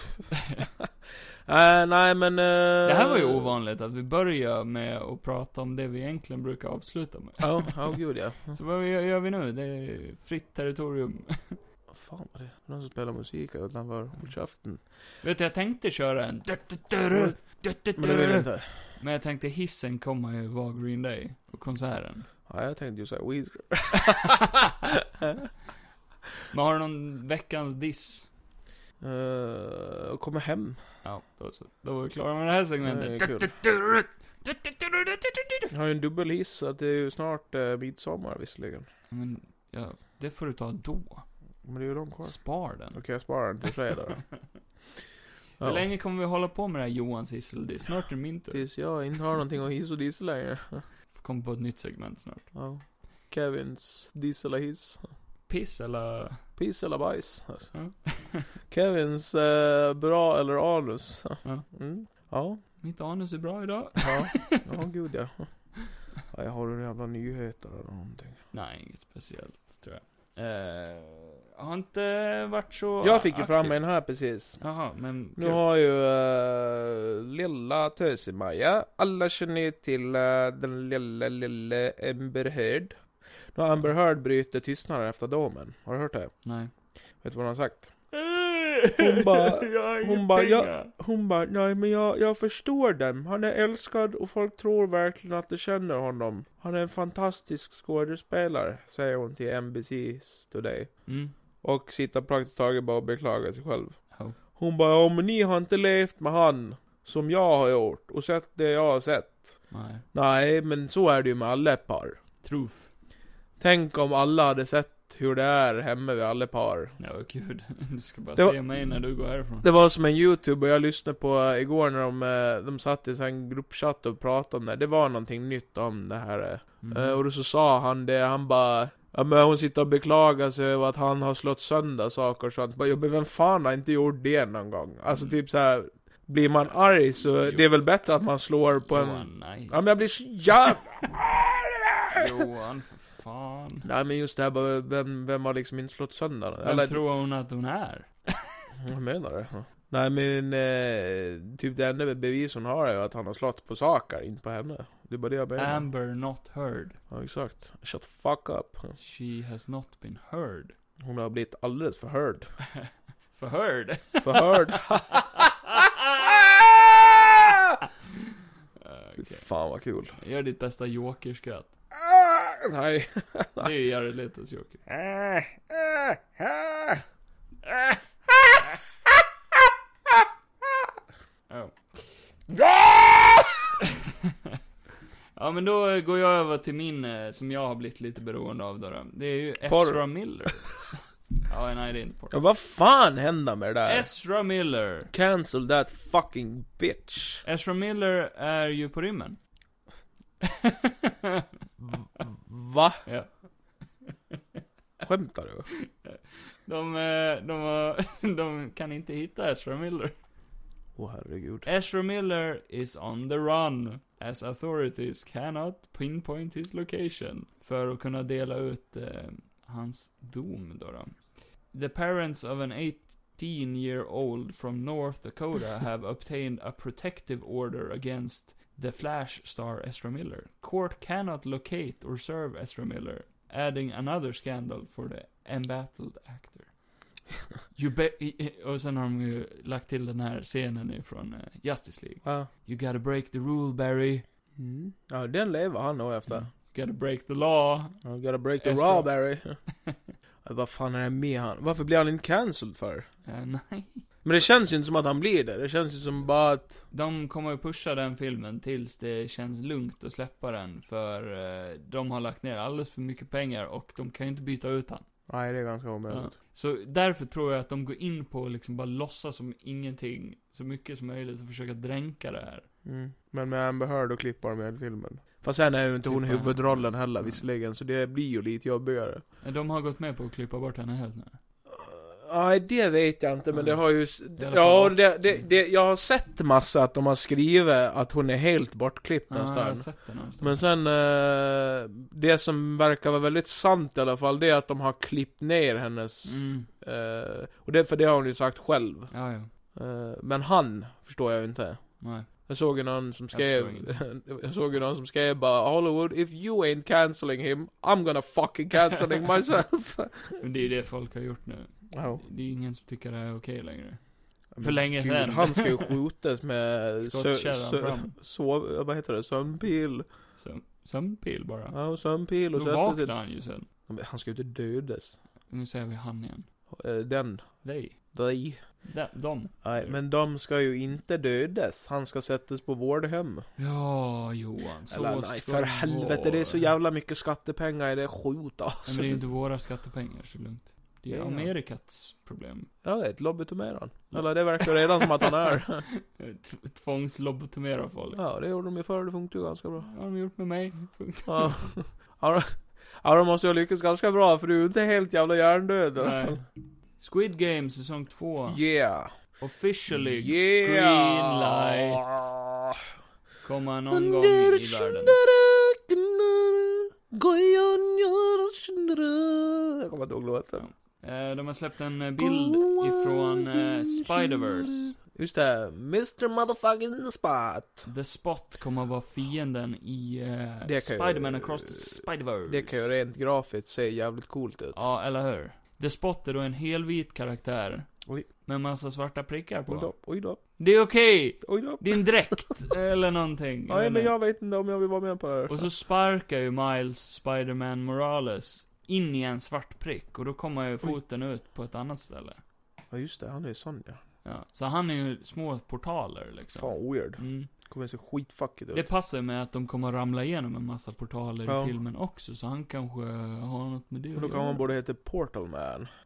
[SPEAKER 2] Eh, nej men... eh,
[SPEAKER 1] Det här var ju ovanligt, att vi börjar med att prata om det vi egentligen brukar avsluta med.
[SPEAKER 2] Ja, ja gud ja.
[SPEAKER 1] Så vad gör gör vi nu? Det är fritt territorium.
[SPEAKER 2] Vad fan var det? Någon som spelar musik här utanför. Håll käften.
[SPEAKER 1] Vet du, jag tänkte köra en...
[SPEAKER 2] Men det vill jag inte.
[SPEAKER 1] Men jag tänkte hissen kommer ju vara Green Day och konserten.
[SPEAKER 2] Ja, jag tänkte ju säga Weezer.
[SPEAKER 1] Men har du någon veckans diss?
[SPEAKER 2] Eh, och komma hem.
[SPEAKER 1] Ja, då så. Då var vi klara med det här
[SPEAKER 2] Det är
[SPEAKER 1] segmentet.
[SPEAKER 2] kul. Jag har ju en dubbelhiss så att det är ju snart eh, midsommar visserligen.
[SPEAKER 1] Men, ja, det får du ta då.
[SPEAKER 2] Men det är ju långt kvar.
[SPEAKER 1] Spar den.
[SPEAKER 2] Okej, jag sparar den till fredag då. Ja.
[SPEAKER 1] Hur länge kommer vi hålla på med det här Johans hisseldiss? Snart är det min tur.
[SPEAKER 2] Tills jag inte har någonting att hiss och diss längre.
[SPEAKER 1] Kom på ett nytt segment snart.
[SPEAKER 2] Ja. Kevins diss eller hiss.
[SPEAKER 1] Piss eller...
[SPEAKER 2] Piss eller bajs. Alltså.
[SPEAKER 1] Ja.
[SPEAKER 2] Kevins eh, bra eller anus.
[SPEAKER 1] Ja.
[SPEAKER 2] Mm. Ja.
[SPEAKER 1] Mitt anus är bra idag.
[SPEAKER 2] Ja, ja gud ja. ja. Jag har en jävla nyheter eller någonting.
[SPEAKER 1] Nej, inget speciellt tror jag. Eh, har inte varit så
[SPEAKER 2] Jag fick ju fram
[SPEAKER 1] aktiv.
[SPEAKER 2] en här precis.
[SPEAKER 1] Jaha, men...
[SPEAKER 2] Nu
[SPEAKER 1] kul.
[SPEAKER 2] har ju eh, lilla Töse-Maja, alla känner ju till eh, den lilla, lilla Amber Heard. Nu har Amber Heard brutit tystnaden efter domen. Har du hört det?
[SPEAKER 1] Nej.
[SPEAKER 2] Vet du vad hon har sagt?
[SPEAKER 1] Hon
[SPEAKER 2] bara-
[SPEAKER 1] jag har
[SPEAKER 2] hon
[SPEAKER 1] inga
[SPEAKER 2] bara,
[SPEAKER 1] pengar.
[SPEAKER 2] Hon bara, nej men jag, jag förstår dem. Han är älskad och folk tror verkligen att de känner honom. Han är en fantastisk skådespelare, säger hon till NBC's Today.
[SPEAKER 1] Mm.
[SPEAKER 2] Och sitter praktiskt taget bara och beklagar sig själv.
[SPEAKER 1] Ja.
[SPEAKER 2] Hon bara, om men ni har inte levt med han som jag har gjort och sett det jag har sett.
[SPEAKER 1] Nej.
[SPEAKER 2] Nej, men så är det ju med alla par.
[SPEAKER 1] Truth.
[SPEAKER 2] Tänk om alla hade sett vet hur det är hemma vid alla par.
[SPEAKER 1] Ja, gud. Du ska bara
[SPEAKER 2] Det var-
[SPEAKER 1] se mig när du går härifrån.
[SPEAKER 2] Det var som en youtuber jag lyssnade på eh, igår när de, eh, de satt i en gruppchatt och pratade om det. Det var någonting nytt om det här. eh.
[SPEAKER 1] Mhm.
[SPEAKER 2] Eh, Och då så sa han det, han bara Ja men hon sitter och beklagar sig över att han har slått sönder saker och sånt. Bara, ja, men vem fan har inte gjort det någon gång? Alltså
[SPEAKER 1] Mm.
[SPEAKER 2] typ så här. Blir man arg så,
[SPEAKER 1] Jo.
[SPEAKER 2] det är väl bättre att man slår på en...
[SPEAKER 1] Johan, nej.
[SPEAKER 2] Ja men jag blir så jävla...
[SPEAKER 1] Johan, för fan.
[SPEAKER 2] Nej men just det här bara, vem, vem har liksom inte slått sönder den?
[SPEAKER 1] Vem tror hon att hon är?
[SPEAKER 2] Jag menar det. Ja. Nej men, eh, typ det enda bevis hon har är att han har slått på saker, inte på henne. Det är bara det jag menar.
[SPEAKER 1] Amber not heard.
[SPEAKER 2] Ja exakt. Shut the fuck up.
[SPEAKER 1] She has not been heard.
[SPEAKER 2] Hon har blivit alldeles förhörd.
[SPEAKER 1] Förhörd?
[SPEAKER 2] Förhörd.
[SPEAKER 1] Eh,
[SPEAKER 2] Fy
[SPEAKER 1] okej.
[SPEAKER 2] Fan vad kul.
[SPEAKER 1] Gör ditt bästa jokerskratt.
[SPEAKER 2] Nej.
[SPEAKER 1] Det är ju Jared Letos joker. Ja. Ja men då går jag över till min, eh, som jag har blivit lite beroende av då. då. Det är ju Ezra
[SPEAKER 2] Porr.
[SPEAKER 1] Miller. ja, nej det är inte
[SPEAKER 2] Ja,
[SPEAKER 1] porr.
[SPEAKER 2] vad fan händer med det där?
[SPEAKER 1] Ezra Miller.
[SPEAKER 2] Cancel that fucking bitch.
[SPEAKER 1] Ezra Miller är ju på rymmen.
[SPEAKER 2] Va?
[SPEAKER 1] Ja.
[SPEAKER 2] Skämtar du?
[SPEAKER 1] De, eh, de, har- de kan inte hitta Ezra Miller.
[SPEAKER 2] Åh herregud.
[SPEAKER 1] Ezra Miller is on the run, as authorities cannot pinpoint his location. För att kunna dela ut eh, hans dom då, då. The parents of an 18 year old from North Dakota have obtained a protective order against the Flash star Ezra Miller. Court cannot locate or serve Ezra Miller, adding another scandal for the embattled actor. You be- i- i- och sen har de ju lagt till den här scenen ifrån eh, Justice League.
[SPEAKER 2] Ja.
[SPEAKER 1] You gotta break the rule, Barry.
[SPEAKER 2] Mm. Ja, den lever han nog efter.
[SPEAKER 1] You gotta break the law.
[SPEAKER 2] I gotta break the
[SPEAKER 1] Ezra.
[SPEAKER 2] raw Barry. Ja, Vad fan är det med han? Varför blir han inte cancelled för?
[SPEAKER 1] Eh, nej.
[SPEAKER 2] Men det känns ju inte som att han blir det. Det känns ju som bara att...
[SPEAKER 1] De kommer ju pusha den filmen tills det känns lugnt att släppa den, för eh, de har lagt ner alldeles för mycket pengar och de kan ju inte byta ut han.
[SPEAKER 2] Nej, det är ganska omöjligt.
[SPEAKER 1] Ja. Så därför tror jag att de går in på att liksom bara låtsas som ingenting, så mycket som möjligt och försöka dränka det här.
[SPEAKER 2] Mm. Men med Amber Heard och klippa dem i hela filmen. Fast sen är ju inte hon
[SPEAKER 1] Klippa.
[SPEAKER 2] huvudrollen heller
[SPEAKER 1] Mm.
[SPEAKER 2] visserligen, så det blir ju lite jobbigare.
[SPEAKER 1] Eh, De har gått med på att klippa bort henne helt nu.
[SPEAKER 2] Nej, det vet jag inte, men
[SPEAKER 1] Mm.
[SPEAKER 2] det har ju... s-
[SPEAKER 1] I alla
[SPEAKER 2] Ja,
[SPEAKER 1] fall-
[SPEAKER 2] det, det, det, jag har sett massa att de har skrivit att hon är helt bortklippt
[SPEAKER 1] Ja, jag har
[SPEAKER 2] nästan.
[SPEAKER 1] sett det någonstans.
[SPEAKER 2] Men sen, eh, det som verkar vara väldigt sant i alla fall, det är att de har klippt ner hennes...
[SPEAKER 1] Mm.
[SPEAKER 2] Eh, och det, för det har hon ju sagt själv.
[SPEAKER 1] Ja, ja.
[SPEAKER 2] Eh, men han, förstår jag ju inte.
[SPEAKER 1] Nej.
[SPEAKER 2] Jag såg ju någon som skrev,
[SPEAKER 1] förstår
[SPEAKER 2] jag såg ju någon som skrev bara Hollywood, if you ain't cancelling him, I'm gonna fucking cancelling myself.
[SPEAKER 1] Men det är ju det folk har gjort nu.
[SPEAKER 2] Wow.
[SPEAKER 1] Det är ingen som tycker det här är okej längre. För länge
[SPEAKER 2] Gud,
[SPEAKER 1] sedan.
[SPEAKER 2] Han ska ju skjutas med
[SPEAKER 1] Skottkärran
[SPEAKER 2] sö,
[SPEAKER 1] fram.
[SPEAKER 2] sov, vad heter det, sömnpil.
[SPEAKER 1] Söm- Sömnpil bara.
[SPEAKER 2] Ja, sömnpil
[SPEAKER 1] Då
[SPEAKER 2] och sätter sig.
[SPEAKER 1] vaknar han ju sen.
[SPEAKER 2] Ja, men Han ska ju inte dödas.
[SPEAKER 1] Nu säger vi han igen.
[SPEAKER 2] Eh, Den.
[SPEAKER 1] Dig.
[SPEAKER 2] Nej.
[SPEAKER 1] De, dem.
[SPEAKER 2] Nej, men de ska ju inte dödas. Han ska sättas på vårdhem.
[SPEAKER 1] Ja, Johan. Så
[SPEAKER 2] Eller,
[SPEAKER 1] ska
[SPEAKER 2] nej,
[SPEAKER 1] det
[SPEAKER 2] för helvete, det är så
[SPEAKER 1] vara.
[SPEAKER 2] jävla mycket skattepengar i det skjut
[SPEAKER 1] Nej,
[SPEAKER 2] alltså.
[SPEAKER 1] men det är ju inte våra skattepengar, så lugnt. Det är
[SPEAKER 2] Ja, ja.
[SPEAKER 1] Amerikas problem.
[SPEAKER 2] Jag vet, lobotomerar han. Eller det verkar redan som att han är.
[SPEAKER 1] Eh, T- Tvångslobotomera folk.
[SPEAKER 2] Ja, det gjorde de ju förr, det funkar ju ganska
[SPEAKER 1] Det
[SPEAKER 2] bra.
[SPEAKER 1] har de gjort med mig. Punkt.
[SPEAKER 2] Ja. Ja, de- Ja, de måste ju ha lyckats ganska bra, för du är ju inte helt jävla hjärndöd. i alla
[SPEAKER 1] Nej.
[SPEAKER 2] fall.
[SPEAKER 1] Squid Game säsong 2.
[SPEAKER 2] Yeah.
[SPEAKER 1] Officially green light.
[SPEAKER 2] Yeah.
[SPEAKER 1] Kommer någon gång i världen.
[SPEAKER 2] Jag kommer inte ihåg låten.
[SPEAKER 1] Eh, De har släppt en eh, bild ifrån eh, Spider-Verse.
[SPEAKER 2] Just det, Mr Motherfucking Spot.
[SPEAKER 1] The Spot kommer att vara fienden i
[SPEAKER 2] kan
[SPEAKER 1] uh,
[SPEAKER 2] ju-
[SPEAKER 1] Spider-Man across the Spider-Verse.
[SPEAKER 2] Det kan ju rent grafiskt se jävligt coolt ut.
[SPEAKER 1] Ja, eller hur? The Spot är då en helvit karaktär.
[SPEAKER 2] Oj.
[SPEAKER 1] Med massa svarta prickar på.
[SPEAKER 2] Oj då, oj då,
[SPEAKER 1] Det är okej!
[SPEAKER 2] oj då.
[SPEAKER 1] Din dräkt, eller någonting.
[SPEAKER 2] Nej men jag vet inte om jag vill vara med på det här.
[SPEAKER 1] Och så sparkar ju Miles Spider-Man Morales in i en svart prick. Och då kommer ju foten ut på ett annat ställe.
[SPEAKER 2] Ja just det, han är ju sån ja.
[SPEAKER 1] Ja. Så han är ju små portaler liksom.
[SPEAKER 2] Fan weird.
[SPEAKER 1] Mm.
[SPEAKER 2] kommer se skitfuckigt
[SPEAKER 1] Det
[SPEAKER 2] ut.
[SPEAKER 1] passar ju med att de kommer att ramla igenom en massa portaler
[SPEAKER 2] Typ. Ja.
[SPEAKER 1] i filmen också, så han kanske har något med det
[SPEAKER 2] Och då kan man borde heta Portal Man.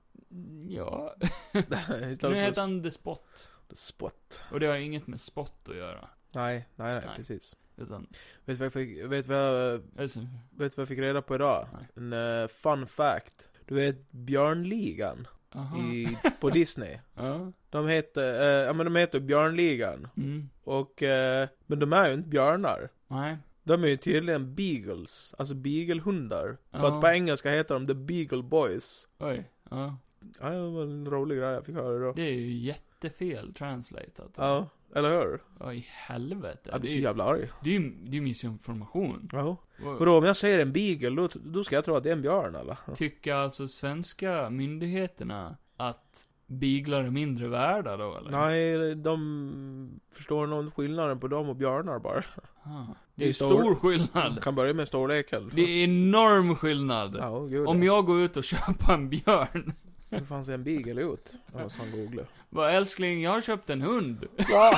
[SPEAKER 1] Ja.
[SPEAKER 2] Istället
[SPEAKER 1] Nu
[SPEAKER 2] för
[SPEAKER 1] heter
[SPEAKER 2] s-
[SPEAKER 1] han The Spot.
[SPEAKER 2] Spot.
[SPEAKER 1] Och det har inget med Spot att göra.
[SPEAKER 2] Nej, nej, nej,
[SPEAKER 1] Nej.
[SPEAKER 2] precis.
[SPEAKER 1] Utan,
[SPEAKER 2] Vet du vad jag fick, vet du vad jag,
[SPEAKER 1] alltså,
[SPEAKER 2] vet du vad jag fick reda på idag?
[SPEAKER 1] Nej.
[SPEAKER 2] En eh, fun fact. Du vet Björnligan
[SPEAKER 1] aha.
[SPEAKER 2] i, på Disney.
[SPEAKER 1] Ja.
[SPEAKER 2] De heter, eh, ja men de heter Björnligan.
[SPEAKER 1] Mm.
[SPEAKER 2] Och, eh, men de är ju inte björnar.
[SPEAKER 1] Nej.
[SPEAKER 2] De är ju tydligen beagles, alltså beaglehundar. För
[SPEAKER 1] Ja.
[SPEAKER 2] att på engelska heter de The Beagle Boys.
[SPEAKER 1] Oj. Ja.
[SPEAKER 2] Ja, det var en rolig grej jag fick höra idag.
[SPEAKER 1] Det är ju jättefel translatat.
[SPEAKER 2] Ja, eller hur?
[SPEAKER 1] Ja, i helvete.
[SPEAKER 2] Jag
[SPEAKER 1] det,
[SPEAKER 2] blir
[SPEAKER 1] är,
[SPEAKER 2] så
[SPEAKER 1] ju-
[SPEAKER 2] jävla arg.
[SPEAKER 1] det är ju det är ju missinformation.
[SPEAKER 2] Ja.
[SPEAKER 1] Och-
[SPEAKER 2] Vadå, om jag säger en beagle, då, då ska jag tro att det är en björn eller?
[SPEAKER 1] Tycker alltså svenska myndigheterna att beaglar är mindre värda då eller?
[SPEAKER 2] Nej, de förstår någon skillnaden på dem och björnar bara.
[SPEAKER 1] Ah.
[SPEAKER 2] Det
[SPEAKER 1] Det
[SPEAKER 2] är
[SPEAKER 1] är ju
[SPEAKER 2] stor-
[SPEAKER 1] stor
[SPEAKER 2] De
[SPEAKER 1] skillnad.
[SPEAKER 2] kan börja med storleken.
[SPEAKER 1] Det är enorm skillnad.
[SPEAKER 2] Ja, gud.
[SPEAKER 1] Om jag går ut och köper en björn.
[SPEAKER 2] Hur fan ser en beagle ut? Jag måste han googla.
[SPEAKER 1] Vad älskling, jag har köpt en hund.
[SPEAKER 2] Ja.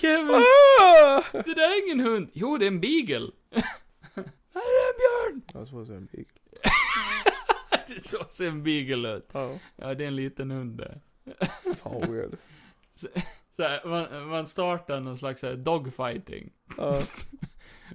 [SPEAKER 1] Kevin, det där är ingen hund. Jo, det är en beagle. Här är en björn!
[SPEAKER 2] Ja, så ser en beagle.
[SPEAKER 1] Det så ser en beagle ut.
[SPEAKER 2] Ja.
[SPEAKER 1] Ja, det är en liten hund det.
[SPEAKER 2] Fan vad weird.
[SPEAKER 1] Så här, man, man startar någon slags så här dogfighting.
[SPEAKER 2] Ja.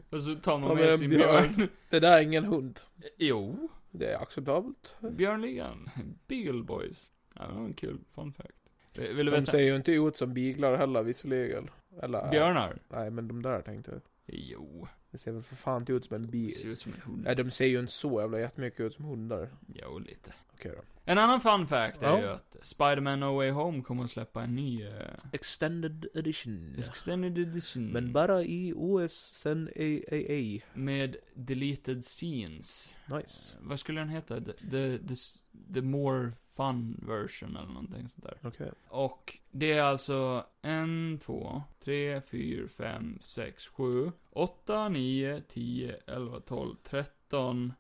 [SPEAKER 1] Och så tar man
[SPEAKER 2] Ta med
[SPEAKER 1] med
[SPEAKER 2] en
[SPEAKER 1] sin
[SPEAKER 2] björn.
[SPEAKER 1] björn.
[SPEAKER 2] Det där är ingen hund.
[SPEAKER 1] Jo.
[SPEAKER 2] Det är acceptabelt.
[SPEAKER 1] Björnligan, Beagle Boys. Ja, det var en kul fun fact. Eh, Vill du äh,
[SPEAKER 2] De
[SPEAKER 1] veta?
[SPEAKER 2] ser ju inte ut som beaglar heller visserligen. Eller?
[SPEAKER 1] Björnar?
[SPEAKER 2] Nej, men de där tänkte jag.
[SPEAKER 1] Jo.
[SPEAKER 2] Det ser väl för fan inte ut som en
[SPEAKER 1] Det
[SPEAKER 2] beagle.
[SPEAKER 1] ser ut som en hund.
[SPEAKER 2] Nej, de ser ju inte så jävla jättemycket ut som hundar.
[SPEAKER 1] Jo, lite.
[SPEAKER 2] Okej då.
[SPEAKER 1] En annan fun fact är
[SPEAKER 2] Ja.
[SPEAKER 1] ju att Spider-Man No Way Home kommer att släppa en ny eh,
[SPEAKER 2] Extended edition.
[SPEAKER 1] extended edition.
[SPEAKER 2] Men bara i OS sen AAA.
[SPEAKER 1] med deleted scenes.
[SPEAKER 2] Nice.
[SPEAKER 1] Eh, Vad skulle den heta? The, the, the, s- the more fun version eller någonting sånt där.
[SPEAKER 2] Okej.
[SPEAKER 1] Och det är alltså en, två, tre, fyra, fem, sex, sju, åtta, nio, tio, elva, tolv, tretton,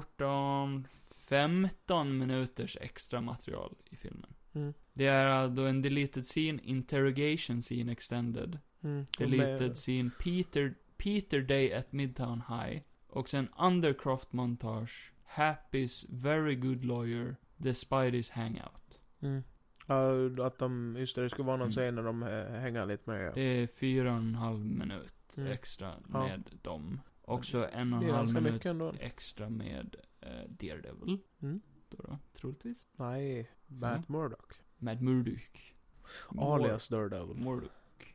[SPEAKER 1] fjorton, femton minuters extra material i filmen.
[SPEAKER 2] Mm.
[SPEAKER 1] Det är då en deleted scene, interrogation scene extended,
[SPEAKER 2] Mm.
[SPEAKER 1] deleted scene, Peter, Peter Day at Midtown High, och sen Undercroft montage, Happy's Very Good Lawyer, The Spidey's Hangout.
[SPEAKER 2] Mm. Ja, att de, just det, det skulle vara någon
[SPEAKER 1] Mm.
[SPEAKER 2] scen när de eh, hänger lite mer.
[SPEAKER 1] Det är fyra och en halv minut
[SPEAKER 2] Mm.
[SPEAKER 1] extra
[SPEAKER 2] Ja.
[SPEAKER 1] med dem. Och så en och
[SPEAKER 2] Det är
[SPEAKER 1] en halv
[SPEAKER 2] ganska
[SPEAKER 1] minut
[SPEAKER 2] mycket ändå.
[SPEAKER 1] extra med eh, Daredevil.
[SPEAKER 2] Mm.
[SPEAKER 1] Då då, troligtvis.
[SPEAKER 2] Nej, Matt
[SPEAKER 1] Mm.
[SPEAKER 2] Murdock.
[SPEAKER 1] Med Murdoch.
[SPEAKER 2] Alias Daredevil.
[SPEAKER 1] Murdoch.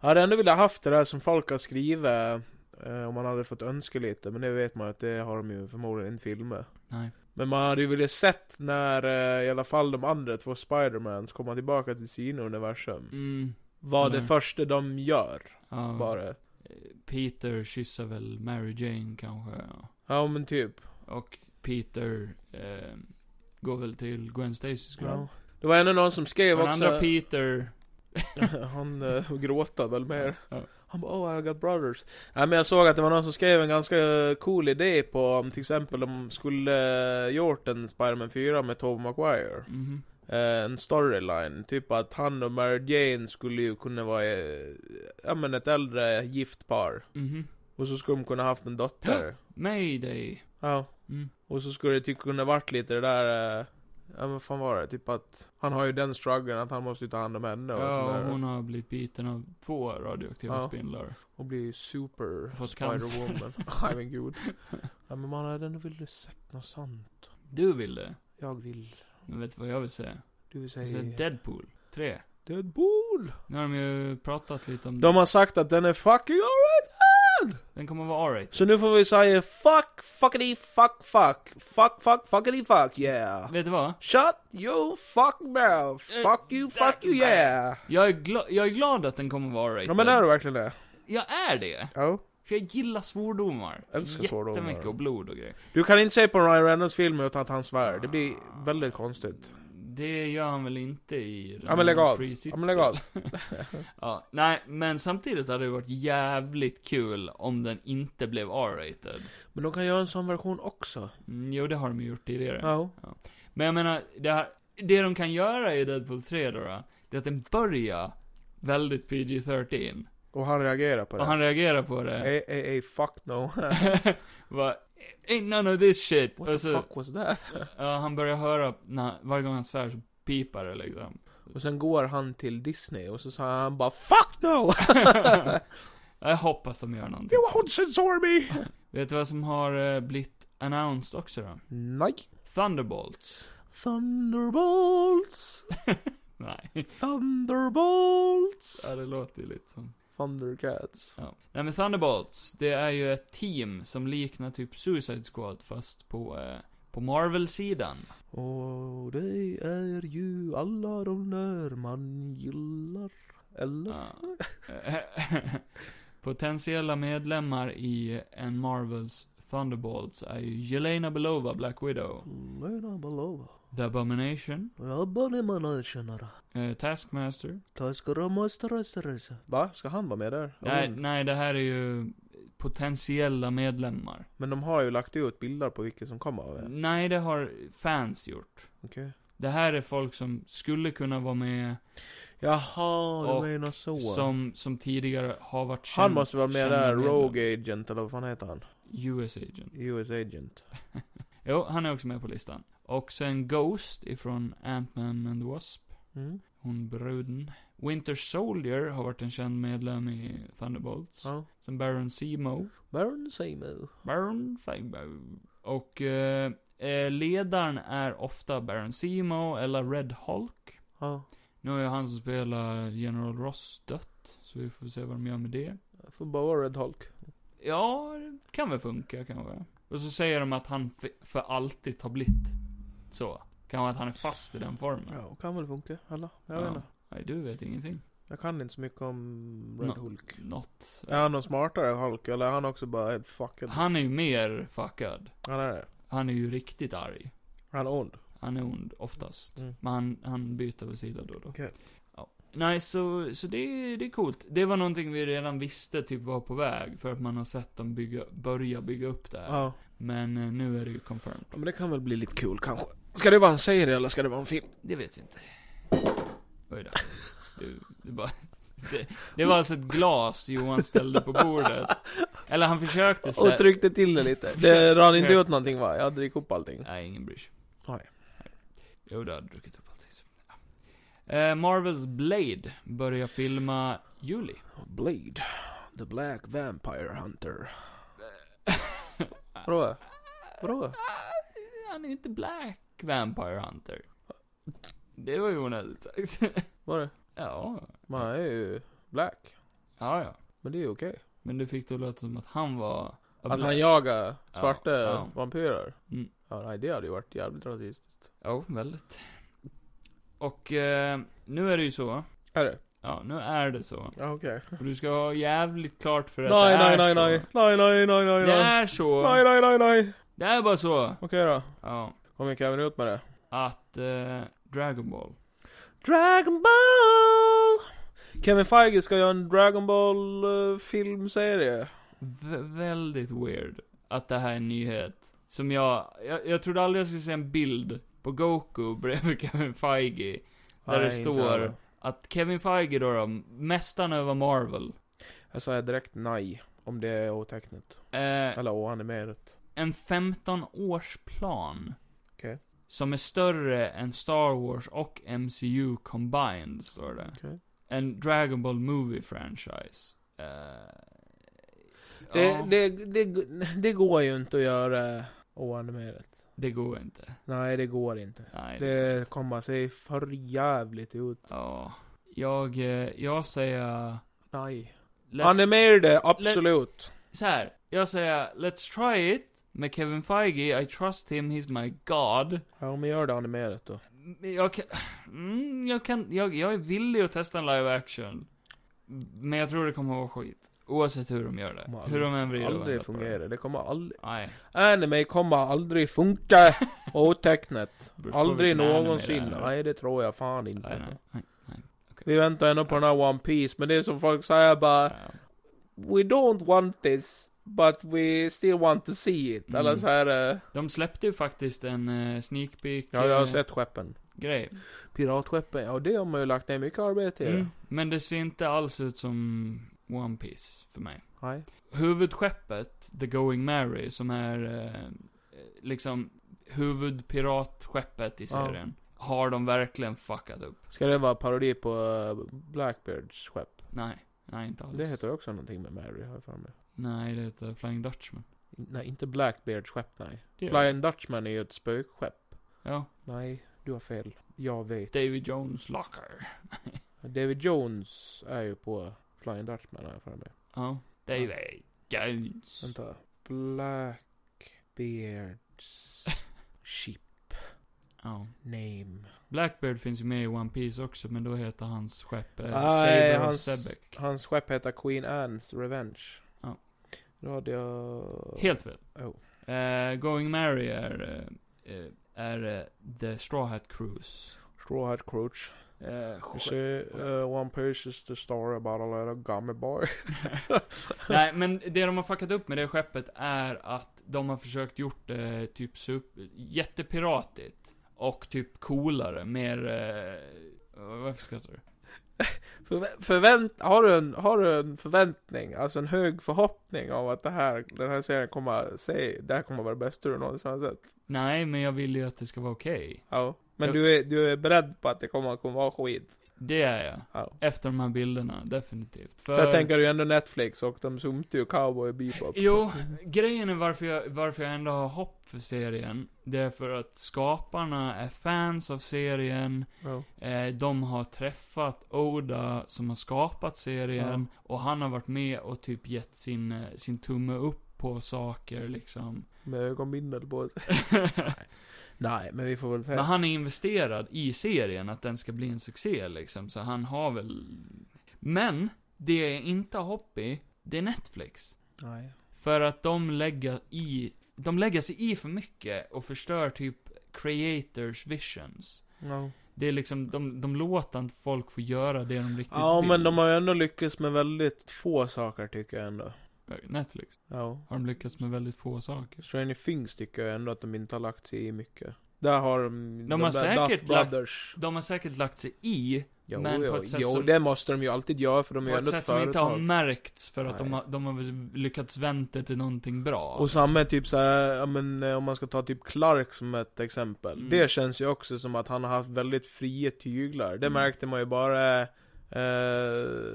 [SPEAKER 2] Jag hade ändå velat haft det där som folk har skrivit. Eh, om man hade fått önska lite. Men det vet man att det har de ju förmodligen inte filmer.
[SPEAKER 1] Nej.
[SPEAKER 2] Men man hade ju velat sett när eh, i alla fall de andra två Spidermans kommer tillbaka till sina universum.
[SPEAKER 1] Mm.
[SPEAKER 2] Vad det
[SPEAKER 1] Mm.
[SPEAKER 2] första de gör,
[SPEAKER 1] ja,
[SPEAKER 2] bara.
[SPEAKER 1] eh, Peter kysser väl Mary Jane kanske. ja.
[SPEAKER 2] Ja men typ.
[SPEAKER 1] Och Peter eh, går väl till Gwen Stacys grav.
[SPEAKER 2] Ja. Det var ändå någon som skrev
[SPEAKER 1] Och Den
[SPEAKER 2] också.
[SPEAKER 1] andra Peter.
[SPEAKER 2] han eh, gråta väl mer.
[SPEAKER 1] Ja.
[SPEAKER 2] Han bara oh I got brothers. Nej men jag såg att det var någon som skrev en ganska eh, cool idé på om till exempel de skulle eh, gjort en Spiderman 4 med Tobey Maguire.
[SPEAKER 1] Mhm.
[SPEAKER 2] Eh, en storyline. Typ att han och Mary Jane skulle ju kunna vara, eh, ja men ett äldre gift par.
[SPEAKER 1] Mhm.
[SPEAKER 2] Och så skulle de kunna haft en dotter.
[SPEAKER 1] Mayday.
[SPEAKER 2] ja.
[SPEAKER 1] Mm.
[SPEAKER 2] Och så skulle det typ kunna varit lite det där, eh, ja men vad fan var det? Typ att han har ju den strugglen att han måste ju ta hand om henne och
[SPEAKER 1] Ja,
[SPEAKER 2] sådär.
[SPEAKER 1] och hon har blivit biten av två radioaktiva
[SPEAKER 2] Ja.
[SPEAKER 1] spindlar.
[SPEAKER 2] Och blir super
[SPEAKER 1] Fått
[SPEAKER 2] Spider-Woman. Nej men gud. Nej men man hade ändå velat sett något sånt.
[SPEAKER 1] Du ville.
[SPEAKER 2] Jag vill,
[SPEAKER 1] Men vet du vad jag vill säga?
[SPEAKER 2] du vill
[SPEAKER 1] Jag vill säga
[SPEAKER 2] säga...
[SPEAKER 1] Deadpool 3.
[SPEAKER 2] Deadpool!
[SPEAKER 1] Nu har de ju pratat lite om
[SPEAKER 2] De
[SPEAKER 1] det.
[SPEAKER 2] har sagt att den är fucking alright!
[SPEAKER 1] Den kommer vara R-rated.
[SPEAKER 2] Så nu får vi säga fuck, fuckity, fuck, fuck. Fuck, fuck, fuckity, fuck, yeah.
[SPEAKER 1] Vet du vad?
[SPEAKER 2] Shut your fuck mouth.
[SPEAKER 1] Eh,
[SPEAKER 2] Fuck you, fuck you, yeah.
[SPEAKER 1] Jag är, gla- jag är glad att den kommer vara R-rated.
[SPEAKER 2] Ja men är du verkligen det?
[SPEAKER 1] Jag är det!
[SPEAKER 2] Ja.
[SPEAKER 1] För jag gillar svordomar.
[SPEAKER 2] Älskar
[SPEAKER 1] Jättemycket
[SPEAKER 2] svordomar.
[SPEAKER 1] och blod och grejer.
[SPEAKER 2] Du kan inte se på Ryan Reynolds film utan att han svär. Det blir väldigt konstigt.
[SPEAKER 1] Det gör han väl inte i
[SPEAKER 2] Ja men lägg av.
[SPEAKER 1] Free City.
[SPEAKER 2] Ja men lägg av.
[SPEAKER 1] Ja, nej, men samtidigt hade det varit jävligt kul om den inte blev R-rated.
[SPEAKER 2] Men de kan göra en sån version också.
[SPEAKER 1] Mm, jo, det har de ju gjort tidigare.
[SPEAKER 2] Ja.
[SPEAKER 1] Men jag menar, det, här, det de kan göra i Deadpool 3 då, då det är att den börjar väldigt PG-13.
[SPEAKER 2] Och han reagerar på det.
[SPEAKER 1] Och han reagerar på det.
[SPEAKER 2] Ey, ey, ey, fuck no.
[SPEAKER 1] Bara, ain't none of this shit.
[SPEAKER 2] What the
[SPEAKER 1] och så,
[SPEAKER 2] fuck was that?
[SPEAKER 1] ja, han börjar höra, när, varje gång han svär så pipar det liksom.
[SPEAKER 2] Och sen går han till Disney och så sa han bara FUCK NO!
[SPEAKER 1] Jag hoppas de gör någonting.
[SPEAKER 2] You
[SPEAKER 1] sånt.
[SPEAKER 2] won't censor me!
[SPEAKER 1] Vet du vad som har eh, blivit announced också då?
[SPEAKER 2] Nej.
[SPEAKER 1] Thunderbolts.
[SPEAKER 2] Thunderbolts!
[SPEAKER 1] Nej,
[SPEAKER 2] Thunderbolts!
[SPEAKER 1] ja, det låter ju lite som...
[SPEAKER 2] Thundercats.
[SPEAKER 1] Ja. Nej men Thunderbolts, det är ju ett team som liknar typ Suicide Squad fast på, eh, på Marvel-sidan.
[SPEAKER 2] Och det är ju alla de där man gillar. Eller?
[SPEAKER 1] Ja. Potentiella medlemmar i en Marvels Thunderbolts är ju Jelena Belova, Black Widow,
[SPEAKER 2] Mena Balova.
[SPEAKER 1] The Abomination,
[SPEAKER 2] Abominationerna.
[SPEAKER 1] eh, Taskmaster.
[SPEAKER 2] Taskaramastarastarasa. Va? Ska han vara med där?
[SPEAKER 1] Nej,
[SPEAKER 2] Hon-
[SPEAKER 1] nej, det här är ju potentiella medlemmar.
[SPEAKER 2] Men de har ju lagt ut bilder på vilka som kommer av det.
[SPEAKER 1] Nej, det har fans gjort.
[SPEAKER 2] Okej.
[SPEAKER 1] Det här är folk som skulle kunna vara med,
[SPEAKER 2] Jaha,
[SPEAKER 1] Och
[SPEAKER 2] du menar så.
[SPEAKER 1] som, som tidigare har varit
[SPEAKER 2] Han
[SPEAKER 1] känd-
[SPEAKER 2] måste vara med
[SPEAKER 1] kända
[SPEAKER 2] där,
[SPEAKER 1] medlemmar.
[SPEAKER 2] Rogue Agent eller vad fan heter han?
[SPEAKER 1] US Agent.
[SPEAKER 2] US Agent.
[SPEAKER 1] Jo, han är också med på listan. Och sen Ghost ifrån Ant-Man and the Wasp.
[SPEAKER 2] Mm.
[SPEAKER 1] Hon bruden. Winter Soldier har varit en känd medlem i Thunderbolts.
[SPEAKER 2] Ja.
[SPEAKER 1] Sen Baron Simo.
[SPEAKER 2] Baron Seymour.
[SPEAKER 1] Baron Simo. Och eh, eh, ledaren är ofta Baron Simo eller Red Hulk.
[SPEAKER 2] Ja.
[SPEAKER 1] Nu har ju han som spelar General Ross dött. Så vi får se vad de gör med det.
[SPEAKER 2] Får bara vara Red Hulk.
[SPEAKER 1] Ja, det kan väl funka kanske. Och så säger de att han för, för alltid har blivit så. Kanske att han är fast i den formen.
[SPEAKER 2] Ja, kan väl funka. Alla. Jag
[SPEAKER 1] Ja.
[SPEAKER 2] vet inte.
[SPEAKER 1] Nej, du vet ingenting.
[SPEAKER 2] Jag kan inte så mycket om Red
[SPEAKER 1] Nå-
[SPEAKER 2] Hulk.
[SPEAKER 1] Något.
[SPEAKER 2] Är han någon smartare Hulk eller är han också bara helt fucked?
[SPEAKER 1] Han är ju mer fuckad.
[SPEAKER 2] Han är det.
[SPEAKER 1] Han är ju riktigt arg.
[SPEAKER 2] Han är ond.
[SPEAKER 1] Han är ond oftast.
[SPEAKER 2] Mm.
[SPEAKER 1] Men han, han byter väl sida då och då.
[SPEAKER 2] Okej.
[SPEAKER 1] Ja. Nej, så, så det, det är coolt. Det var någonting vi redan visste typ var på väg. För att man har sett dem bygga, börja bygga upp det här.
[SPEAKER 2] Ja.
[SPEAKER 1] Men eh, nu är det ju confirmed.
[SPEAKER 2] ja. Men det kan väl bli lite kul kanske. Ska det vara en serie eller ska det vara en film?
[SPEAKER 1] Det vet vi inte. Oj då. Du, det, bara, det, det var alltså ett glas Johan ställde på bordet. Eller han försökte ställa...
[SPEAKER 2] Och tryckte till det lite. Det
[SPEAKER 1] Försök.
[SPEAKER 2] rann inte ut någonting va? Jag drick upp allting.
[SPEAKER 1] Nej, ingen bryr sig.
[SPEAKER 2] Nej.
[SPEAKER 1] Jo, det hade druckit upp allting. Ja. Eh, Marvels Blade börjar filma juli.
[SPEAKER 2] Blade. The Black Vampire Hunter. Vadå? Vadå?
[SPEAKER 1] Han är inte Black Vampire Hunter. Det var ju onödigt sagt.
[SPEAKER 2] Var det?
[SPEAKER 1] ja,
[SPEAKER 2] Man är ju black.
[SPEAKER 1] ja, ja.
[SPEAKER 2] Men det är ju okej.
[SPEAKER 1] Men du fick det att låta som att han var...
[SPEAKER 2] Att han jagar svarta
[SPEAKER 1] Ja, ja.
[SPEAKER 2] vampyrer.
[SPEAKER 1] Mm.
[SPEAKER 2] Ja, nej, det hade ju varit jävligt rasistiskt.
[SPEAKER 1] Ja, väldigt. Och eh, nu är det ju så.
[SPEAKER 2] Är det?
[SPEAKER 1] Ja, nu är det så.
[SPEAKER 2] Ja, okej.
[SPEAKER 1] Och du ska ha jävligt klart för att
[SPEAKER 2] Nej,
[SPEAKER 1] det
[SPEAKER 2] nej,
[SPEAKER 1] är
[SPEAKER 2] nej,
[SPEAKER 1] så.
[SPEAKER 2] nej. Nej, nej, nej, nej,
[SPEAKER 1] Det
[SPEAKER 2] nej.
[SPEAKER 1] är så.
[SPEAKER 2] Nej, nej, nej, nej.
[SPEAKER 1] Det är bara så.
[SPEAKER 2] Okej då.
[SPEAKER 1] Ja.
[SPEAKER 2] Kom igen Kevin, ut med det.
[SPEAKER 1] Att eh, Dragon Ball.
[SPEAKER 2] Dragon Ball! Kevin Feige ska göra en Dragon Ball eh, filmserie.
[SPEAKER 1] V- väldigt weird att det här är en nyhet. Som jag, jag, jag trodde aldrig jag skulle se en bild på Goku bredvid Kevin Feige. Där det
[SPEAKER 2] Nej, inte
[SPEAKER 1] står-
[SPEAKER 2] jag.
[SPEAKER 1] Att Kevin Feige då, då mästaren över Marvel.
[SPEAKER 2] Jag säger direkt nej. Om det är otecknet.
[SPEAKER 1] Eh,
[SPEAKER 2] Eller oanimerat.
[SPEAKER 1] en 15-årsplan.
[SPEAKER 2] Okej.
[SPEAKER 1] Som är större än Star Wars och MCU combined, står det.
[SPEAKER 2] Okej.
[SPEAKER 1] En Dragon Ball Movie franchise. Eh,
[SPEAKER 2] Det,
[SPEAKER 1] ja,
[SPEAKER 2] det, det, det går ju inte att göra oanimerat.
[SPEAKER 1] det går inte.
[SPEAKER 2] Nej, det går inte.
[SPEAKER 1] Nej,
[SPEAKER 2] Det kommer se för jävligt ut.
[SPEAKER 1] Ja. Jag, eh, jag säger...
[SPEAKER 2] Nej.
[SPEAKER 1] let's-
[SPEAKER 2] Animerade, absolut.
[SPEAKER 1] så här, jag säger Let's try it med Kevin Feige, I trust him, he's my god.
[SPEAKER 2] Ja, men gör det animerat då.
[SPEAKER 1] Men Jag kan, mm, jag kan, jag, jag är villig att testa en live action. Men jag tror det kommer att vara skit. Oavsett hur de gör det.
[SPEAKER 2] Kommer
[SPEAKER 1] hur de än vrider och vänder
[SPEAKER 2] Aldrig
[SPEAKER 1] på det.
[SPEAKER 2] fungerar. Det kommer aldrig...
[SPEAKER 1] Nej.
[SPEAKER 2] Anime kommer aldrig funka! Otecknat.
[SPEAKER 1] Beror på
[SPEAKER 2] Aldrig
[SPEAKER 1] vilken anime
[SPEAKER 2] någonsin.
[SPEAKER 1] det är.
[SPEAKER 2] Nej, det tror jag fan
[SPEAKER 1] Nej,
[SPEAKER 2] inte.
[SPEAKER 1] nej, nej.
[SPEAKER 2] Vi väntar ändå på den här One Piece, men det är som folk säger bara
[SPEAKER 1] Ja.
[SPEAKER 2] We don't want this, but we still want to see it. Eller
[SPEAKER 1] Mm.
[SPEAKER 2] så här... eh,
[SPEAKER 1] De släppte ju faktiskt en eh, sneak peek.
[SPEAKER 2] Ja, jag har
[SPEAKER 1] eh,
[SPEAKER 2] sett skeppen.
[SPEAKER 1] grej.
[SPEAKER 2] Piratskeppen, ja det har man ju lagt ner mycket arbete i.
[SPEAKER 1] Mm. Men det ser inte alls ut som One Piece för mig.
[SPEAKER 2] Nej.
[SPEAKER 1] Huvudskeppet, The Going Mary, som är eh, liksom huvudpiratskeppet i
[SPEAKER 2] Ja.
[SPEAKER 1] serien. Har de verkligen fuckat upp?
[SPEAKER 2] Ska det vara parodi på eh, Blackbeards skepp?
[SPEAKER 1] Nej, nej inte alls.
[SPEAKER 2] Det heter ju också någonting med Mary, har jag för mig.
[SPEAKER 1] Nej, det heter Flying Dutchman.
[SPEAKER 2] Nej, inte Blackbeards skepp, nej.
[SPEAKER 1] Det gör
[SPEAKER 2] Flying Dutchman är ju ett spökskepp.
[SPEAKER 1] Ja,
[SPEAKER 2] Nej, du har fel. Jag vet.
[SPEAKER 1] David Jones Locker.
[SPEAKER 2] David Jones är ju på Flying Dutchman, har jag för mig.
[SPEAKER 1] Ja, David Jones.
[SPEAKER 2] Vänta. Blackbeards ship
[SPEAKER 1] Ja.
[SPEAKER 2] name.
[SPEAKER 1] Blackbeard finns ju med i One Piece också, men då heter hans skepp eh,
[SPEAKER 2] Nej,
[SPEAKER 1] Saber
[SPEAKER 2] hans-
[SPEAKER 1] of Sebek.
[SPEAKER 2] Hans skepp heter Queen Anne's Revenge.
[SPEAKER 1] Ja.
[SPEAKER 2] Då hade jag...
[SPEAKER 1] Helt fel.
[SPEAKER 2] Oh.
[SPEAKER 1] Eh, Going Mary är, eh, eh, är eh, The Straw Hat Cruise.
[SPEAKER 2] Straw Hat Crouch.
[SPEAKER 1] Eh,
[SPEAKER 2] You
[SPEAKER 1] sk-
[SPEAKER 2] see, uh, One Piece is the story about a little gummy boy.
[SPEAKER 1] Nej, men det de har fuckat upp med det skeppet är att de har försökt gjort det typ super, jättepiratigt. Och typ coolare, mer... Eh, varför skrattar du?
[SPEAKER 2] Förvä- förvänt- har, du en, har du en förväntning, alltså en hög förhoppning av att det här, den här serien kommer, säg, det här kommer vara det bästa du någonsin har sett?
[SPEAKER 1] Nej, men jag vill ju att det ska vara okej.
[SPEAKER 2] Ja. Men
[SPEAKER 1] Jag-
[SPEAKER 2] du är, du är beredd på att det kommer, kommer vara skit?
[SPEAKER 1] Det är jag.
[SPEAKER 2] Ja.
[SPEAKER 1] Efter de här bilderna, definitivt.
[SPEAKER 2] För jag tänker ju ändå Netflix och de zoomte ju Cowboy Bebop.
[SPEAKER 1] Jo, grejen är varför jag, varför jag ändå har hopp för serien. Det är för att skaparna är fans av serien.
[SPEAKER 2] Ja.
[SPEAKER 1] Eh, de har träffat Oda som har skapat serien.
[SPEAKER 2] Mm.
[SPEAKER 1] Och han har varit med och typ gett sin, eh, sin tumme upp på saker liksom.
[SPEAKER 2] Med ögonbindel på sig. Nej, men vi får väl
[SPEAKER 1] Men
[SPEAKER 2] säga.
[SPEAKER 1] han är investerad i serien, att den ska bli en succé liksom. Så han har väl... Men, det jag inte har hopp i, det är Netflix.
[SPEAKER 2] Nej.
[SPEAKER 1] För att de lägger i, de lägger sig i för mycket och förstör typ creators visions.
[SPEAKER 2] Ja.
[SPEAKER 1] Det är liksom, de, de låter inte folk få göra det de riktigt
[SPEAKER 2] ja,
[SPEAKER 1] vill.
[SPEAKER 2] men de har ju ändå lyckats med väldigt få saker tycker jag ändå.
[SPEAKER 1] Eh, Netflix
[SPEAKER 2] Ja.
[SPEAKER 1] har de lyckats med väldigt få saker.
[SPEAKER 2] Stranger Things tycker jag ändå att de inte har lagt sig i mycket. Där har de...
[SPEAKER 1] De har säkert lagt-
[SPEAKER 2] Brothers.
[SPEAKER 1] De har säkert lagt sig i,
[SPEAKER 2] Jo,
[SPEAKER 1] men
[SPEAKER 2] jo,
[SPEAKER 1] på ett sätt
[SPEAKER 2] jo
[SPEAKER 1] som-
[SPEAKER 2] det måste de ju alltid göra för de är
[SPEAKER 1] på ett
[SPEAKER 2] ju ändå
[SPEAKER 1] sätt
[SPEAKER 2] ett
[SPEAKER 1] som inte har
[SPEAKER 2] företag.
[SPEAKER 1] märkts för att de
[SPEAKER 2] Nej.
[SPEAKER 1] har, de har väl lyckats vänta till någonting bra.
[SPEAKER 2] Och samma typ såhär, ja, men eh, om man ska ta typ Clark som ett exempel.
[SPEAKER 1] Mm.
[SPEAKER 2] Det känns ju också som att han har haft väldigt fria tyglar. Det
[SPEAKER 1] Mm.
[SPEAKER 2] märkte man ju bara, eh,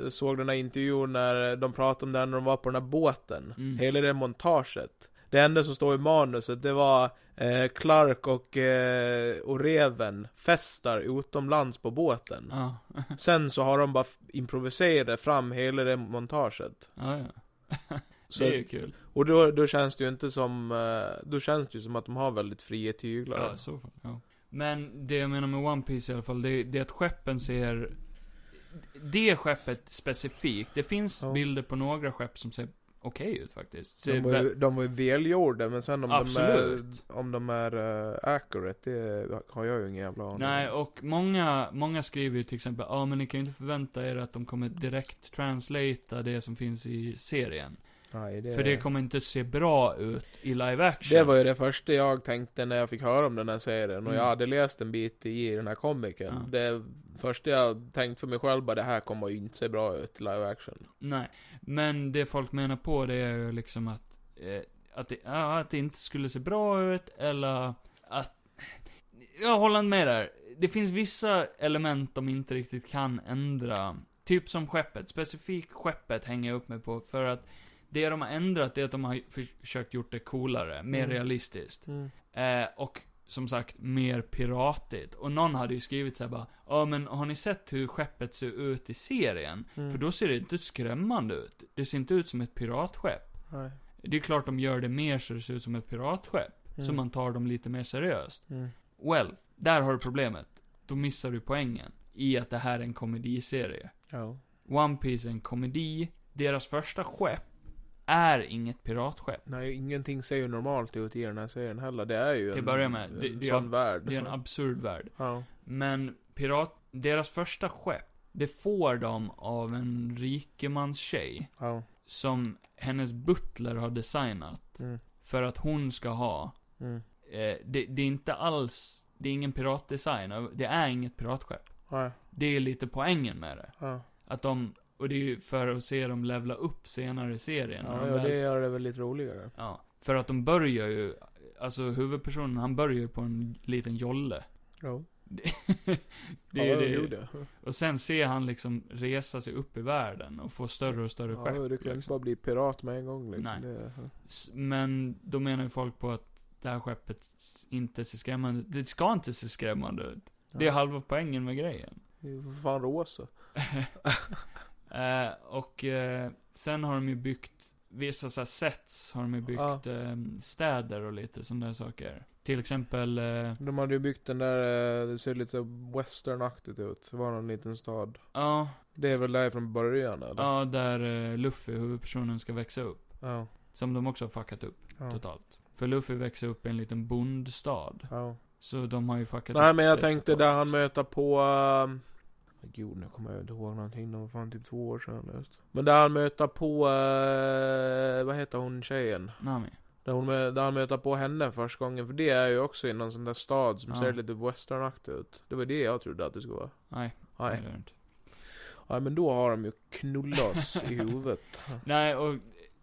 [SPEAKER 2] såg den här intervjun när de pratade om det här när de var på den här båten.
[SPEAKER 1] Mm.
[SPEAKER 2] Hela det montaget. Det enda som står i manuset, det var eh, Clark och, eh, och Reven festar utomlands på båten.
[SPEAKER 1] Ja,
[SPEAKER 2] Sen så har de bara f- improviserat fram hela det montaget.
[SPEAKER 1] ja, ja.
[SPEAKER 2] Så
[SPEAKER 1] Det är ju kul.
[SPEAKER 2] och då, då känns det ju inte som, eh, då känns det ju som att de har väldigt fria tyglar.
[SPEAKER 1] Ja, i så fall. Ja. Men det jag menar med One Piece i alla fall, det, det är att skeppen ser... Det skeppet specifikt, det finns
[SPEAKER 2] Ja.
[SPEAKER 1] bilder på några skepp som ser okej ut faktiskt. Ser
[SPEAKER 2] de, var ju, de var ju välgjorda, men sen om
[SPEAKER 1] Absolut.
[SPEAKER 2] de är, om de är eh, accurate, det har jag ju ingen jävla aning om.
[SPEAKER 1] Nej, och många, många skriver ju till exempel, ja men ni kan ju inte förvänta er att de kommer direkt translata det som finns i serien.
[SPEAKER 2] Nej, det,
[SPEAKER 1] För det kommer inte se bra ut i live action.
[SPEAKER 2] det var ju det första jag tänkte när jag fick höra om den här serien, och
[SPEAKER 1] Mm.
[SPEAKER 2] jag hade läst en bit i den här komiken.
[SPEAKER 1] Ja.
[SPEAKER 2] Det första jag tänkte för mig själv bara, det här kommer ju inte se bra ut i live action.
[SPEAKER 1] Nej, men det folk menar på det är ju liksom att, eh, att, det, ja, att det inte skulle se bra ut, eller att... Jag håller inte med där. Det finns vissa element de inte riktigt kan ändra. Typ som skeppet, specifikt skeppet hänger jag upp mig på, för att det de har ändrat är att de har försökt gjort det coolare, mer
[SPEAKER 2] Mm.
[SPEAKER 1] realistiskt. Eh, och som sagt, mer piratigt. Och någon hade ju skrivit såhär bara, ja men har ni sett hur skeppet ser ut i serien?
[SPEAKER 2] Mm.
[SPEAKER 1] För då ser det inte skrämmande ut. Det ser inte ut som ett piratskepp.
[SPEAKER 2] Nej.
[SPEAKER 1] Det är klart de gör det mer så det ser ut som ett piratskepp. Så
[SPEAKER 2] Mm.
[SPEAKER 1] man tar dem lite mer seriöst.
[SPEAKER 2] Mm.
[SPEAKER 1] Well, där har du problemet. Då missar du poängen. I att det här är en komediserie.
[SPEAKER 2] Ja.
[SPEAKER 1] One Piece är en komedi. Deras första skepp är inget piratskepp.
[SPEAKER 2] Nej, ingenting ser ju normalt ut i den här serien heller. Det är ju
[SPEAKER 1] Till
[SPEAKER 2] en,
[SPEAKER 1] att börja med, det-
[SPEAKER 2] en
[SPEAKER 1] det är-
[SPEAKER 2] sån värld.
[SPEAKER 1] Det är en absurd värld.
[SPEAKER 2] ja.
[SPEAKER 1] Men pirat, deras första skepp, det får de av en rikemans tjej.
[SPEAKER 2] Ja.
[SPEAKER 1] Som hennes butler har designat.
[SPEAKER 2] Mm.
[SPEAKER 1] För att hon ska ha.
[SPEAKER 2] Mm.
[SPEAKER 1] Eh, det, det är inte alls det är ingen piratdesign och det är inget piratskepp.
[SPEAKER 2] Nej.
[SPEAKER 1] Det är lite poängen med det.
[SPEAKER 2] Ja.
[SPEAKER 1] Att de, och det är ju för att se dem levla upp senare i serien. när
[SPEAKER 2] Ja,
[SPEAKER 1] de
[SPEAKER 2] ja,
[SPEAKER 1] väl-
[SPEAKER 2] det gör det väl lite roligare.
[SPEAKER 1] ja. För att de börjar ju, alltså huvudpersonen han börjar ju på en liten jolle.
[SPEAKER 2] Ja.
[SPEAKER 1] Det, det
[SPEAKER 2] ja,
[SPEAKER 1] är
[SPEAKER 2] jo,
[SPEAKER 1] ju det.
[SPEAKER 2] det.
[SPEAKER 1] Och sen ser han liksom resa sig upp i världen och få större och större
[SPEAKER 2] Ja,
[SPEAKER 1] skepp.
[SPEAKER 2] du kan ju inte
[SPEAKER 1] liksom.
[SPEAKER 2] bara bli pirat med en gång liksom.
[SPEAKER 1] Nej.
[SPEAKER 2] Det,
[SPEAKER 1] S- Men då menar ju folk på att det här skeppet s- inte ser skrämmande ut. Det ska inte se skrämmande ut. Det är
[SPEAKER 2] Ja.
[SPEAKER 1] halva poängen med grejen.
[SPEAKER 2] det är ju för fan rosa.
[SPEAKER 1] Eh, och eh, sen har de ju byggt, vissa så här sets har de ju byggt
[SPEAKER 2] Ja.
[SPEAKER 1] eh, städer och lite sådana där saker. Till exempel, eh,
[SPEAKER 2] De hade ju byggt den där, eh, det ser lite westernaktigt ut. Det var någon liten stad.
[SPEAKER 1] ja,
[SPEAKER 2] Det är väl där från början eller?
[SPEAKER 1] ja där eh, Luffy, huvudpersonen, ska växa upp.
[SPEAKER 2] Ja.
[SPEAKER 1] Som de också har fuckat upp
[SPEAKER 2] ja.
[SPEAKER 1] totalt. För Luffy växer upp i en liten bondstad.
[SPEAKER 2] ja.
[SPEAKER 1] Så de har ju fuckat
[SPEAKER 2] Nej
[SPEAKER 1] upp
[SPEAKER 2] men jag
[SPEAKER 1] det
[SPEAKER 2] tänkte
[SPEAKER 1] totalt.
[SPEAKER 2] där han möter på... ehm, Gud, nu kommer jag inte ihåg någonting. Det var fan typ två år sedan just. Men där han möter på... eh, vad heter hon tjejen?
[SPEAKER 1] Nami.
[SPEAKER 2] Där, hon, mö- där han möter på henne första gången, för det är ju också i någon sån där stad som
[SPEAKER 1] Ja.
[SPEAKER 2] ser lite westernaktig ut. Det var det jag trodde att det skulle vara.
[SPEAKER 1] Nej, det
[SPEAKER 2] Nej.
[SPEAKER 1] är det inte.
[SPEAKER 2] Nej men då har de ju knullat oss i huvudet.
[SPEAKER 1] Nej, och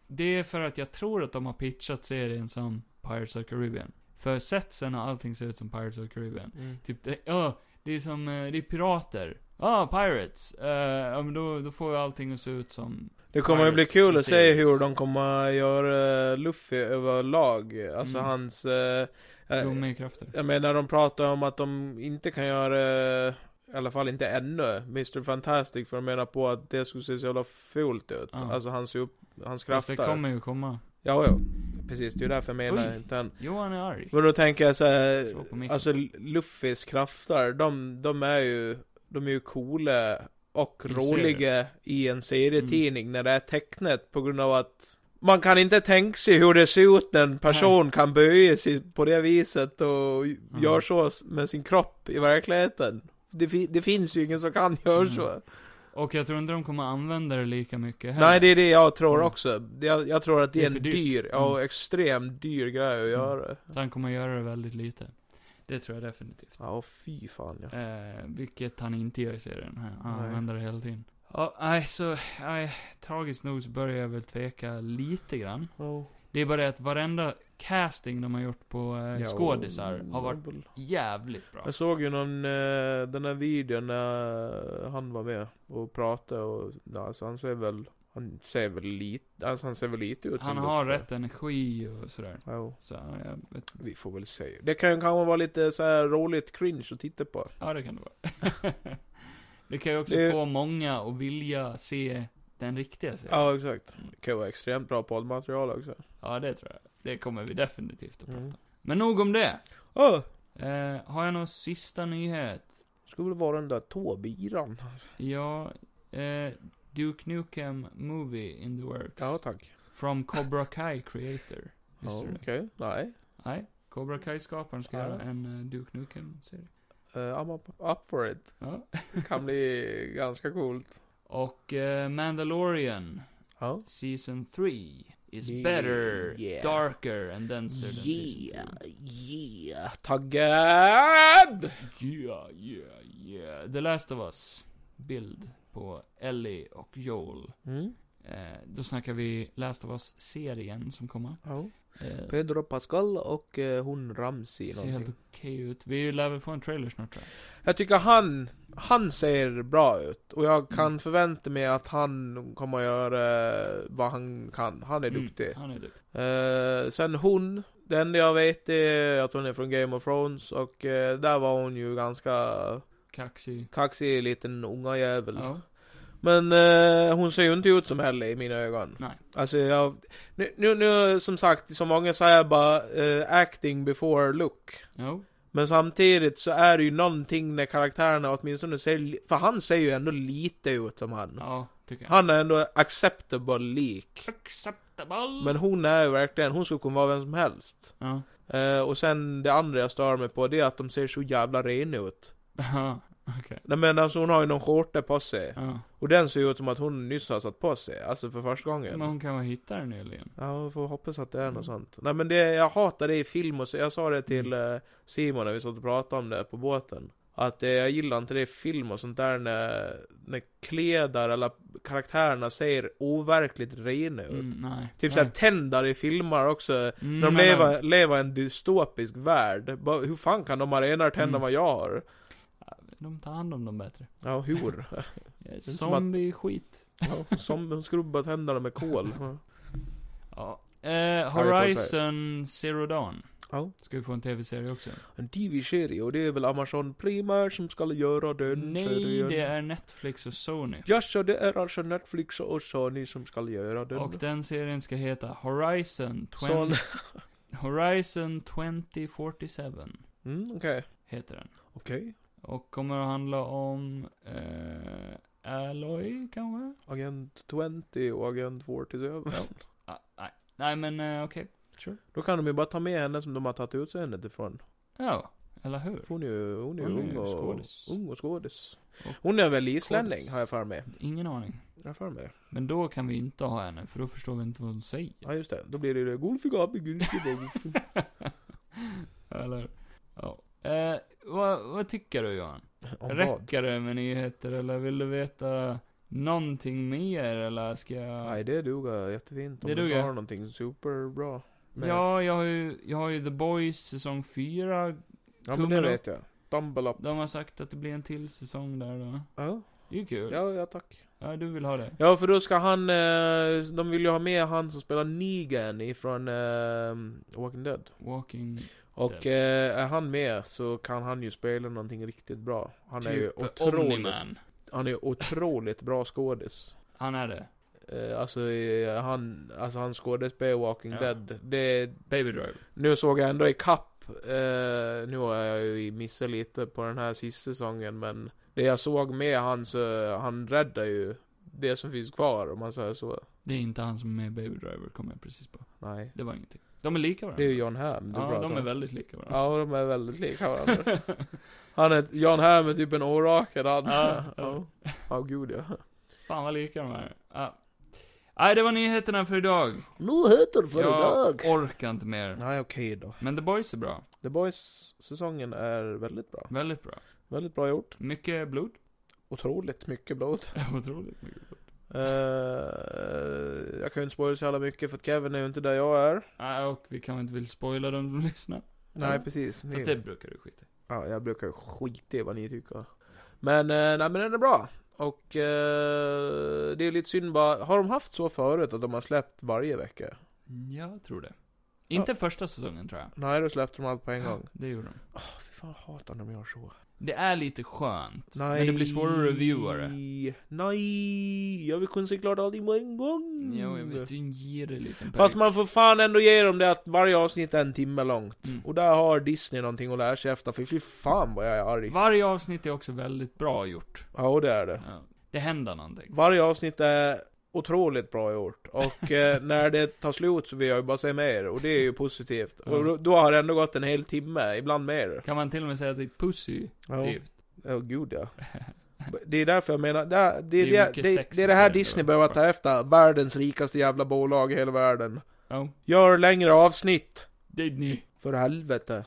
[SPEAKER 1] det är för att jag tror att de har pitchat serien som Pirates of Caribbean. För setsen och allting ser ut som Pirates of Caribbean.
[SPEAKER 2] Mm.
[SPEAKER 1] Typ, det- ja, det är som, eh, det är pirater. Ja, ah, pirates. Eh, ja, men då, då får ju allting att se ut som...
[SPEAKER 2] Det kommer ju bli
[SPEAKER 1] Pirates
[SPEAKER 2] kul att se
[SPEAKER 1] series.
[SPEAKER 2] hur de kommer göra Luffy överlag. Alltså
[SPEAKER 1] Mm.
[SPEAKER 2] hans... Eh, eh,
[SPEAKER 1] Gummikrafter.
[SPEAKER 2] jag menar de pratar om att de inte kan göra... eh, I alla fall inte ännu. Mr Fantastic för de menar på att det skulle se så jävla fult ut.
[SPEAKER 1] Ja.
[SPEAKER 2] Alltså hans, upp, hans
[SPEAKER 1] Fast
[SPEAKER 2] krafter.
[SPEAKER 1] det kommer ju komma.
[SPEAKER 2] Ja, ja. Precis, det är ju därför jag menar
[SPEAKER 1] Oj.
[SPEAKER 2] inte än.
[SPEAKER 1] Johan är arg.
[SPEAKER 2] Men då tänker jag så här,
[SPEAKER 1] Slå på micken.
[SPEAKER 2] alltså Luffys krafter, de, de är ju, de är ju coola och
[SPEAKER 1] I
[SPEAKER 2] roliga i en serietidning
[SPEAKER 1] Mm.
[SPEAKER 2] när det är tecknet på grund av att man kan inte tänka sig hur det ser ut när en person kan böja sig på det viset och
[SPEAKER 1] Mm.
[SPEAKER 2] gör så med sin kropp i verkligheten. Det, fi- det finns ju ingen som kan göra
[SPEAKER 1] Mm.
[SPEAKER 2] så.
[SPEAKER 1] Och jag tror inte de kommer använda det lika mycket heller.
[SPEAKER 2] Nej, det är det jag tror
[SPEAKER 1] Mm.
[SPEAKER 2] också. Det- Jag, jag tror att det är,
[SPEAKER 1] Det är
[SPEAKER 2] en
[SPEAKER 1] för dyrt. Mm.
[SPEAKER 2] dyr, ja, extremt dyr grej att göra.
[SPEAKER 1] Så han kommer göra det väldigt lite. Det tror jag definitivt.
[SPEAKER 2] Ja, fy fan ja.
[SPEAKER 1] Eh, vilket han inte gör i serien. Han han
[SPEAKER 2] Nej.
[SPEAKER 1] använder det hela tiden. Ja, nej, så, nej, tragiskt nog så börjar jag väl tveka lite grann.
[SPEAKER 2] Ja.
[SPEAKER 1] Det är bara det att varenda casting de har gjort på eh, skådisar har varit jävligt bra.
[SPEAKER 2] Jag såg ju någon, eh, den här videon när han var med och pratade och, ja, alltså han ser väl, han ser väl lite, alltså han ser väl lite ut
[SPEAKER 1] Han
[SPEAKER 2] som
[SPEAKER 1] har
[SPEAKER 2] Luffy.
[SPEAKER 1] rätt energi och sådär.
[SPEAKER 2] Ja,
[SPEAKER 1] Så, ja, jag vet,
[SPEAKER 2] vi får väl se. Det kan ju kanske vara lite så här roligt cringe att titta på.
[SPEAKER 1] ja, det kan det vara. det kan ju också
[SPEAKER 2] Det-
[SPEAKER 1] få många att vilja se den riktiga serien.
[SPEAKER 2] Ja, exakt. Det kan ju vara extremt bra poddmaterial också.
[SPEAKER 1] Ja, det tror jag. Det kommer vi definitivt att prata om.
[SPEAKER 2] Mm.
[SPEAKER 1] Men nog om det.
[SPEAKER 2] Åh!
[SPEAKER 1] Eh, har jag någon sista nyhet?
[SPEAKER 2] Skulle väl vara den där tåbiran.
[SPEAKER 1] Ja, eh, Duke Nukem Movie in the Works.
[SPEAKER 2] Ja, tack.
[SPEAKER 1] From Cobra Kai Creator.
[SPEAKER 2] Ja,
[SPEAKER 1] Visste du
[SPEAKER 2] Okej,
[SPEAKER 1] det?
[SPEAKER 2] nej.
[SPEAKER 1] Nej, Cobra Kai-skaparen ska
[SPEAKER 2] Ja.
[SPEAKER 1] göra en eh, Duke Nukem-serie.
[SPEAKER 2] Uh, I'm up, up for it.
[SPEAKER 1] Ja.
[SPEAKER 2] Kan bli ganska coolt.
[SPEAKER 1] Och eh, Mandalorian
[SPEAKER 2] Ja.
[SPEAKER 1] Season 3 is
[SPEAKER 2] Yeah.
[SPEAKER 1] better,
[SPEAKER 2] Yeah.
[SPEAKER 1] darker and denser than Season
[SPEAKER 2] yeah. Taggad!
[SPEAKER 1] 2. Yeah, yeah, yeah. The Last of Us. Bild på Ellie och Joel.
[SPEAKER 2] Mm.
[SPEAKER 1] Eh, då snackar vi Last of Us-serien som kommer.
[SPEAKER 2] Ja.
[SPEAKER 1] Eh,
[SPEAKER 2] Pedro Pascal och eh, hon Ramsey
[SPEAKER 1] Ser helt
[SPEAKER 2] någonting.
[SPEAKER 1] okej ut. Vi lär väl få en trailer snart tror jag.
[SPEAKER 2] Jag tycker han, han ser bra ut. Och jag kan
[SPEAKER 1] Mm.
[SPEAKER 2] förvänta mig att han kommer göra eh, vad han kan. Han är
[SPEAKER 1] Mm,
[SPEAKER 2] duktig.
[SPEAKER 1] Han är duktig.
[SPEAKER 2] Eh, sen hon, det enda jag vet är att hon är från Game of Thrones och eh, där var hon ju ganska
[SPEAKER 1] Kaxig.
[SPEAKER 2] kaxig liten unga jävel.
[SPEAKER 1] Ja.
[SPEAKER 2] Men eh, hon ser ju inte ut som Ellie i mina ögon.
[SPEAKER 1] Nej.
[SPEAKER 2] Alltså jag, nu, nu, nu som sagt, som många säger bara eh, acting before look.
[SPEAKER 1] Jo.
[SPEAKER 2] Men samtidigt så är det ju någonting när karaktärerna åtminstone ser, li- för han ser ju ändå lite ut som han.
[SPEAKER 1] Ja, tycker jag.
[SPEAKER 2] Han är ändå acceptable lik.
[SPEAKER 1] Acceptable.
[SPEAKER 2] Men hon är ju verkligen, hon skulle kunna vara vem som helst.
[SPEAKER 1] Ja.
[SPEAKER 2] Eh, och sen det andra jag stör mig på, det är att de ser så jävla rena ut.
[SPEAKER 1] Ja. Okej.
[SPEAKER 2] Nej men alltså hon har ju någon skjorta på sig.
[SPEAKER 1] Ja.
[SPEAKER 2] Och den ser ju ut som att hon nyss har satt på sig. Alltså för första gången.
[SPEAKER 1] Men hon kan vara hittare nyligen.
[SPEAKER 2] Ja, vi får hoppas att det är
[SPEAKER 1] Mm.
[SPEAKER 2] något sånt. Nej men det, jag hatar det i film och så, jag sa det till eh, Simon när vi satt och pratade om det på båten. Att eh, jag gillar inte det i film och sånt där när, när kläder eller karaktärerna ser overkligt rena ut.
[SPEAKER 1] Mm, nej.
[SPEAKER 2] Typ såhär
[SPEAKER 1] nej.
[SPEAKER 2] tänder i filmer också.
[SPEAKER 1] Mm,
[SPEAKER 2] När de
[SPEAKER 1] men,
[SPEAKER 2] lever, lever i en dystopisk värld. Bara, hur fan kan de ha renare tänder än
[SPEAKER 1] Mm.
[SPEAKER 2] vad jag har?
[SPEAKER 1] De tar hand om dem bättre.
[SPEAKER 2] Ja, hur? som att-
[SPEAKER 1] Zombie-skit.
[SPEAKER 2] ja, som de skrubbar tänderna med kol. Ja.
[SPEAKER 1] Ja. Eh,
[SPEAKER 2] får jag
[SPEAKER 1] Horizon Zero Dawn.
[SPEAKER 2] Ja.
[SPEAKER 1] Ska vi få en tv-serie också?
[SPEAKER 2] En TV-serie och det är väl Amazon Prima som ska göra den
[SPEAKER 1] Nej,
[SPEAKER 2] serien.
[SPEAKER 1] det är Netflix och Sony.
[SPEAKER 2] Jaså, det är alltså Netflix och Sony som ska göra den.
[SPEAKER 1] Och den serien ska heta Horizon 20...
[SPEAKER 2] Son-
[SPEAKER 1] Horizon 2047.
[SPEAKER 2] Mm, okej.
[SPEAKER 1] Heter den.
[SPEAKER 2] Okej.
[SPEAKER 1] Och kommer att handla om... Eh, Alloy, kanske?
[SPEAKER 2] Agent 20 och Agent 47.
[SPEAKER 1] Ja. Ah, nej. nej, men eh, okej.
[SPEAKER 2] Sure. Då kan de ju bara ta med henne som de har tagit ut henne ifrån.
[SPEAKER 1] Ja, eller hur?
[SPEAKER 2] För hon är ju, hon är ju
[SPEAKER 1] Hon är
[SPEAKER 2] ung
[SPEAKER 1] ju
[SPEAKER 2] och,
[SPEAKER 1] skådis.
[SPEAKER 2] ung och skådis.
[SPEAKER 1] Och-
[SPEAKER 2] Hon är väl islänning,
[SPEAKER 1] skådis.
[SPEAKER 2] har jag för mig.
[SPEAKER 1] Ingen aning.
[SPEAKER 2] Jag har för mig det.
[SPEAKER 1] Men då kan vi inte ha henne, för då förstår vi inte vad hon säger.
[SPEAKER 2] Ja, just det. Då blir det ju det. Golfig abi, gulfig golf.
[SPEAKER 1] eller Ja. Eh, vad, vad tycker du Johan?
[SPEAKER 2] Om vad?
[SPEAKER 1] Räcker det med nyheter eller vill du veta någonting mer eller ska jag?
[SPEAKER 2] Nej, det duger jättefint. Om
[SPEAKER 1] Det
[SPEAKER 2] det du
[SPEAKER 1] duger.
[SPEAKER 2] har någonting superbra. med-
[SPEAKER 1] ja, jag har ju, jag har ju The Boys säsong 4.
[SPEAKER 2] ja men det
[SPEAKER 1] tummen
[SPEAKER 2] vet jag. Dumble up.
[SPEAKER 1] De har sagt att det blir en till säsong där då.
[SPEAKER 2] Ja,
[SPEAKER 1] Det är ju kul. Ja,
[SPEAKER 2] ja, ja tack.
[SPEAKER 1] du vill ha det?
[SPEAKER 2] Ja, för då ska han, eh, de vill ju ha med han som spelar Negan ifrån eh, Walking Dead.
[SPEAKER 1] Walking...
[SPEAKER 2] Och eh, är han med så kan han ju spela någonting riktigt bra. Han är
[SPEAKER 1] typ
[SPEAKER 2] ju otroligt,
[SPEAKER 1] Omni-Man.
[SPEAKER 2] han är ju otroligt bra skådis.
[SPEAKER 1] Han är det.
[SPEAKER 2] Eh, alltså, eh, han, alltså han skådespelare i Walking
[SPEAKER 1] Ja.
[SPEAKER 2] Dead. Det,
[SPEAKER 1] Baby Driver.
[SPEAKER 2] nu såg jag ändå i kapp. Eh, nu har jag ju missat lite på den här sista säsongen men det jag såg med han så, han räddar ju det som finns kvar om man säger så.
[SPEAKER 1] Det är inte han som är med i Baby Driver, kommer jag precis på.
[SPEAKER 2] Nej.
[SPEAKER 1] Det var ingenting. De är lika
[SPEAKER 2] Det är
[SPEAKER 1] varandra.
[SPEAKER 2] ju John Hamm du
[SPEAKER 1] ja,
[SPEAKER 2] pratar
[SPEAKER 1] de är
[SPEAKER 2] om.
[SPEAKER 1] väldigt lika varandra.
[SPEAKER 2] Ja, de är väldigt lika varandra. Han är, John Hamm är typ en orakel han.
[SPEAKER 1] Ja,
[SPEAKER 2] ja.
[SPEAKER 1] ja.
[SPEAKER 2] Ja, gud ja.
[SPEAKER 1] Fan vad lika de är. Ja. Nej, det var nyheterna för idag.
[SPEAKER 2] Nyheter
[SPEAKER 1] jag orkar inte mer.
[SPEAKER 2] Nej, okej då.
[SPEAKER 1] Men The Boys är bra.
[SPEAKER 2] The Boys-säsongen är väldigt bra.
[SPEAKER 1] Väldigt bra.
[SPEAKER 2] Väldigt bra gjort.
[SPEAKER 1] Mycket blod.
[SPEAKER 2] Otroligt mycket blod.
[SPEAKER 1] Otroligt mycket blod.
[SPEAKER 2] Eh, jag kan ju inte spoila så jävla mycket för att Kevin är ju inte där jag är. Mm.
[SPEAKER 1] Nej, och vi kanske inte vill spoila dem som lyssnar.
[SPEAKER 2] Nej, precis. Ni...
[SPEAKER 1] Fast det brukar du skita i.
[SPEAKER 2] Ja, jag brukar ju skita i vad ni tycker. Men, eh, nej men den är bra. Och eh, det är lite synd bara, har de haft så förut att de har släppt varje vecka?
[SPEAKER 1] Jag tror det. Inte första säsongen tror jag.
[SPEAKER 2] Nej, då släppte de allt på en gång.
[SPEAKER 1] Det gjorde de.
[SPEAKER 2] Åh, fy fan, jag hatar när de gör så.
[SPEAKER 1] Det är lite skönt.
[SPEAKER 2] Nej.
[SPEAKER 1] Men det blir svårare att reviewa det.
[SPEAKER 2] Nej, jag vill kunna se klart allting på en gång.
[SPEAKER 1] Jo, jag visste ju en girig liten
[SPEAKER 2] Fast
[SPEAKER 1] period.
[SPEAKER 2] man får fan ändå ge dem det att varje avsnitt är en timme långt.
[SPEAKER 1] Mm.
[SPEAKER 2] Och där har Disney någonting att lära sig efter, för fy fan vad jag är arg.
[SPEAKER 1] Varje avsnitt är också väldigt bra gjort.
[SPEAKER 2] Ja, och det är det.
[SPEAKER 1] Ja. Det händer någonting.
[SPEAKER 2] Varje avsnitt är otroligt bra gjort. Och eh, när det tar slut så vill jag ju bara se mer. Och det är ju positivt.
[SPEAKER 1] Mm.
[SPEAKER 2] Och då, då har det ändå gått en hel timme, ibland mer.
[SPEAKER 1] Kan man till och med säga att det är positivt?
[SPEAKER 2] Ja, oh, gud ja. Det är därför jag menar, det, är- det, är
[SPEAKER 1] Det är
[SPEAKER 2] det,
[SPEAKER 1] mycket
[SPEAKER 2] det,
[SPEAKER 1] sex
[SPEAKER 2] det, är
[SPEAKER 1] i
[SPEAKER 2] det här
[SPEAKER 1] serien,
[SPEAKER 2] Disney
[SPEAKER 1] va?
[SPEAKER 2] behöver ta efter. Världens rikaste jävla bolag i hela världen.
[SPEAKER 1] Ja.
[SPEAKER 2] Gör längre avsnitt.
[SPEAKER 1] Det är ni.
[SPEAKER 2] För helvete.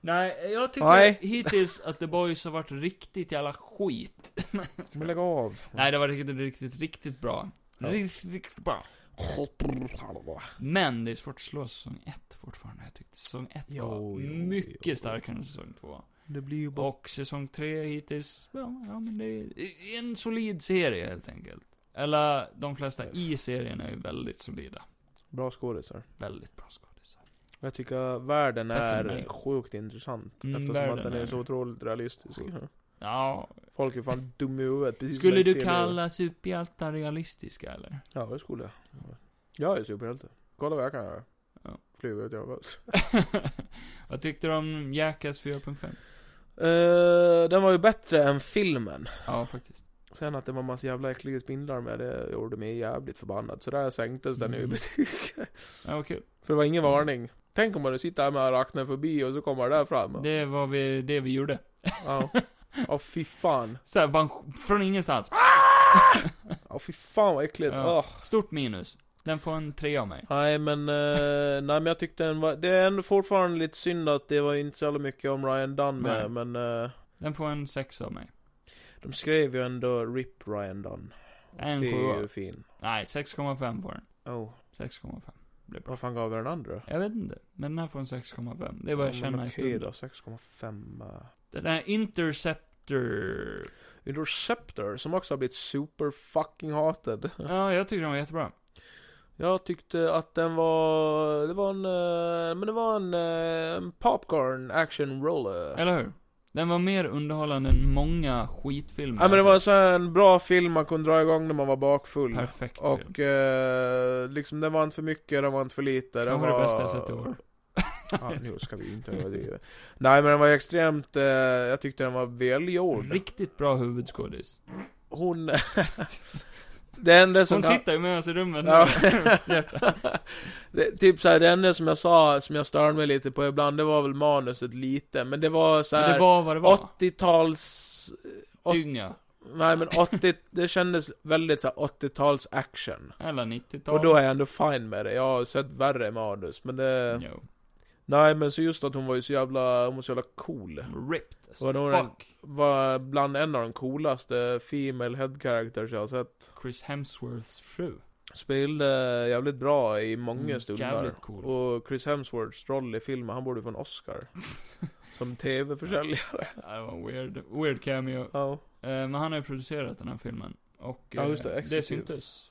[SPEAKER 1] Nej, jag tycker
[SPEAKER 2] Nej.
[SPEAKER 1] hittills att The Boys har varit riktigt jävla skit.
[SPEAKER 2] Men lägg av.
[SPEAKER 1] Nej, det var riktigt, riktigt, riktigt bra.
[SPEAKER 2] Ja.
[SPEAKER 1] Riktigt, riktigt bra. Men det är svårt att slå säsong ett fortfarande. Jag tyckte säsong ett
[SPEAKER 2] Jo,
[SPEAKER 1] var
[SPEAKER 2] jo,
[SPEAKER 1] mycket
[SPEAKER 2] jo.
[SPEAKER 1] starkare än säsong två.
[SPEAKER 2] Det blir ju
[SPEAKER 1] Och säsong tre hittills, ja, ja men det är en solid serie helt enkelt. Eller, de flesta i serien är ju väldigt solida.
[SPEAKER 2] Bra skådisar.
[SPEAKER 1] Väldigt bra skådisar.
[SPEAKER 2] Jag tycker världen
[SPEAKER 1] Bättre
[SPEAKER 2] är
[SPEAKER 1] än mig.
[SPEAKER 2] sjukt intressant.
[SPEAKER 1] Mm,
[SPEAKER 2] eftersom
[SPEAKER 1] världen
[SPEAKER 2] att den är
[SPEAKER 1] är-
[SPEAKER 2] så otroligt realistisk.
[SPEAKER 1] Ja,
[SPEAKER 2] Folk är fan dumma i huvudet. Precis som
[SPEAKER 1] skulle
[SPEAKER 2] jag
[SPEAKER 1] du
[SPEAKER 2] inte är.
[SPEAKER 1] kalla superhjältar realistiska eller?
[SPEAKER 2] Ja, det skulle jag. Jag är superhjälte. Kolla vad jag kan göra.
[SPEAKER 1] Ja.
[SPEAKER 2] Flyga ut jag oss.
[SPEAKER 1] Vad tyckte du om Jackass 4.5? Eh,
[SPEAKER 2] den var ju bättre än filmen.
[SPEAKER 1] Ja, faktiskt.
[SPEAKER 2] Sen att det var massa jävla äckliga spindlar med, det gjorde mig jävligt förbannad. Så där sänktes den i
[SPEAKER 1] Mm.
[SPEAKER 2] betyg.
[SPEAKER 1] Ja, vad kul.
[SPEAKER 2] För det var ingen varning. Tänk om man sitter här med arachnofobi och så kommer det där fram.
[SPEAKER 1] Det var vi, det vi gjorde.
[SPEAKER 2] Ja. Ja, fy fan.
[SPEAKER 1] Såhär, bara en- från ingenstans.
[SPEAKER 2] Ja, fy fan vad äckligt.
[SPEAKER 1] Ja.
[SPEAKER 2] Ah.
[SPEAKER 1] Stort minus. Den får en tre av mig.
[SPEAKER 2] Nej men, eh, nej men jag tyckte den var, det är ändå fortfarande lite synd att det var inte så jävla mycket om Ryan Dunn med, men eh,
[SPEAKER 1] Den får en sex av mig.
[SPEAKER 2] de skrev ju ändå RIP Ryan Dunn.
[SPEAKER 1] En
[SPEAKER 2] det är
[SPEAKER 1] sjua.
[SPEAKER 2] ju fin.
[SPEAKER 1] Nej, 6,5 på den.
[SPEAKER 2] Oh,
[SPEAKER 1] 6,5. Blir bra.
[SPEAKER 2] vad fan gav vi den andra?
[SPEAKER 1] Jag vet inte. Men den här får en 6,5. Det är vad jag
[SPEAKER 2] Ja, men
[SPEAKER 1] känner i
[SPEAKER 2] Okej
[SPEAKER 1] stunden.
[SPEAKER 2] då, 6,5. eh.
[SPEAKER 1] Den här Interceptor.
[SPEAKER 2] Interceptor, som också har blivit super fucking hatad.
[SPEAKER 1] Ja, jag tycker den var jättebra.
[SPEAKER 2] Jag tyckte att den var, det var en, eh, men det var en, eh, en popcorn action roller.
[SPEAKER 1] Eller hur? Den var mer underhållande än många skitfilmer.
[SPEAKER 2] Ja men det var en
[SPEAKER 1] Alltså,
[SPEAKER 2] sån här en bra film man kunde dra igång när man var bakfull.
[SPEAKER 1] Perfekt film.
[SPEAKER 2] Och eh, liksom den var inte för mycket, den var inte för lite. Den
[SPEAKER 1] Den var det bästa jag sett i år.
[SPEAKER 2] Ja, nu ska vi inte överdriva. Nej men den var extremt, eh, jag tyckte den var välgjord.
[SPEAKER 1] Riktigt bra huvudskådis.
[SPEAKER 2] Alltså, Hon... det enda som...
[SPEAKER 1] Hon sitter ju med oss i rummet nu.
[SPEAKER 2] Ja. det, typ såhär, det enda som jag sa, som jag störde mig lite på ibland, det var väl manuset lite. Men det var
[SPEAKER 1] Men
[SPEAKER 2] såhär...
[SPEAKER 1] det var vad det var.
[SPEAKER 2] 80-tals... åt-
[SPEAKER 1] Dynga.
[SPEAKER 2] Nej men 80, det kändes väldigt såhär 80-tals action.
[SPEAKER 1] Eller 90-tal.
[SPEAKER 2] Och då är jag ändå fine med det. Jag har sett värre manus, men det...
[SPEAKER 1] Jo.
[SPEAKER 2] Nej men så just att hon var ju så jävla, hon var så jävla cool.
[SPEAKER 1] Ripped as
[SPEAKER 2] Var det hon-
[SPEAKER 1] fuck.
[SPEAKER 2] Var bland en av de coolaste female head characters jag har sett.
[SPEAKER 1] Chris Hemsworths fru.
[SPEAKER 2] Spelade jävligt bra i många
[SPEAKER 1] Mm,
[SPEAKER 2] stunder.
[SPEAKER 1] jävligt cool.
[SPEAKER 2] Och Chris Hemsworths roll i filmen, han borde få en Oscar. Som TV-försäljare.
[SPEAKER 1] Ja, det var en weird, weird cameo. Eh,
[SPEAKER 2] Ja.
[SPEAKER 1] men han har ju producerat den här filmen. Och
[SPEAKER 2] Ja,
[SPEAKER 1] eh,
[SPEAKER 2] just det,
[SPEAKER 1] det
[SPEAKER 2] exekutiv.
[SPEAKER 1] syntes.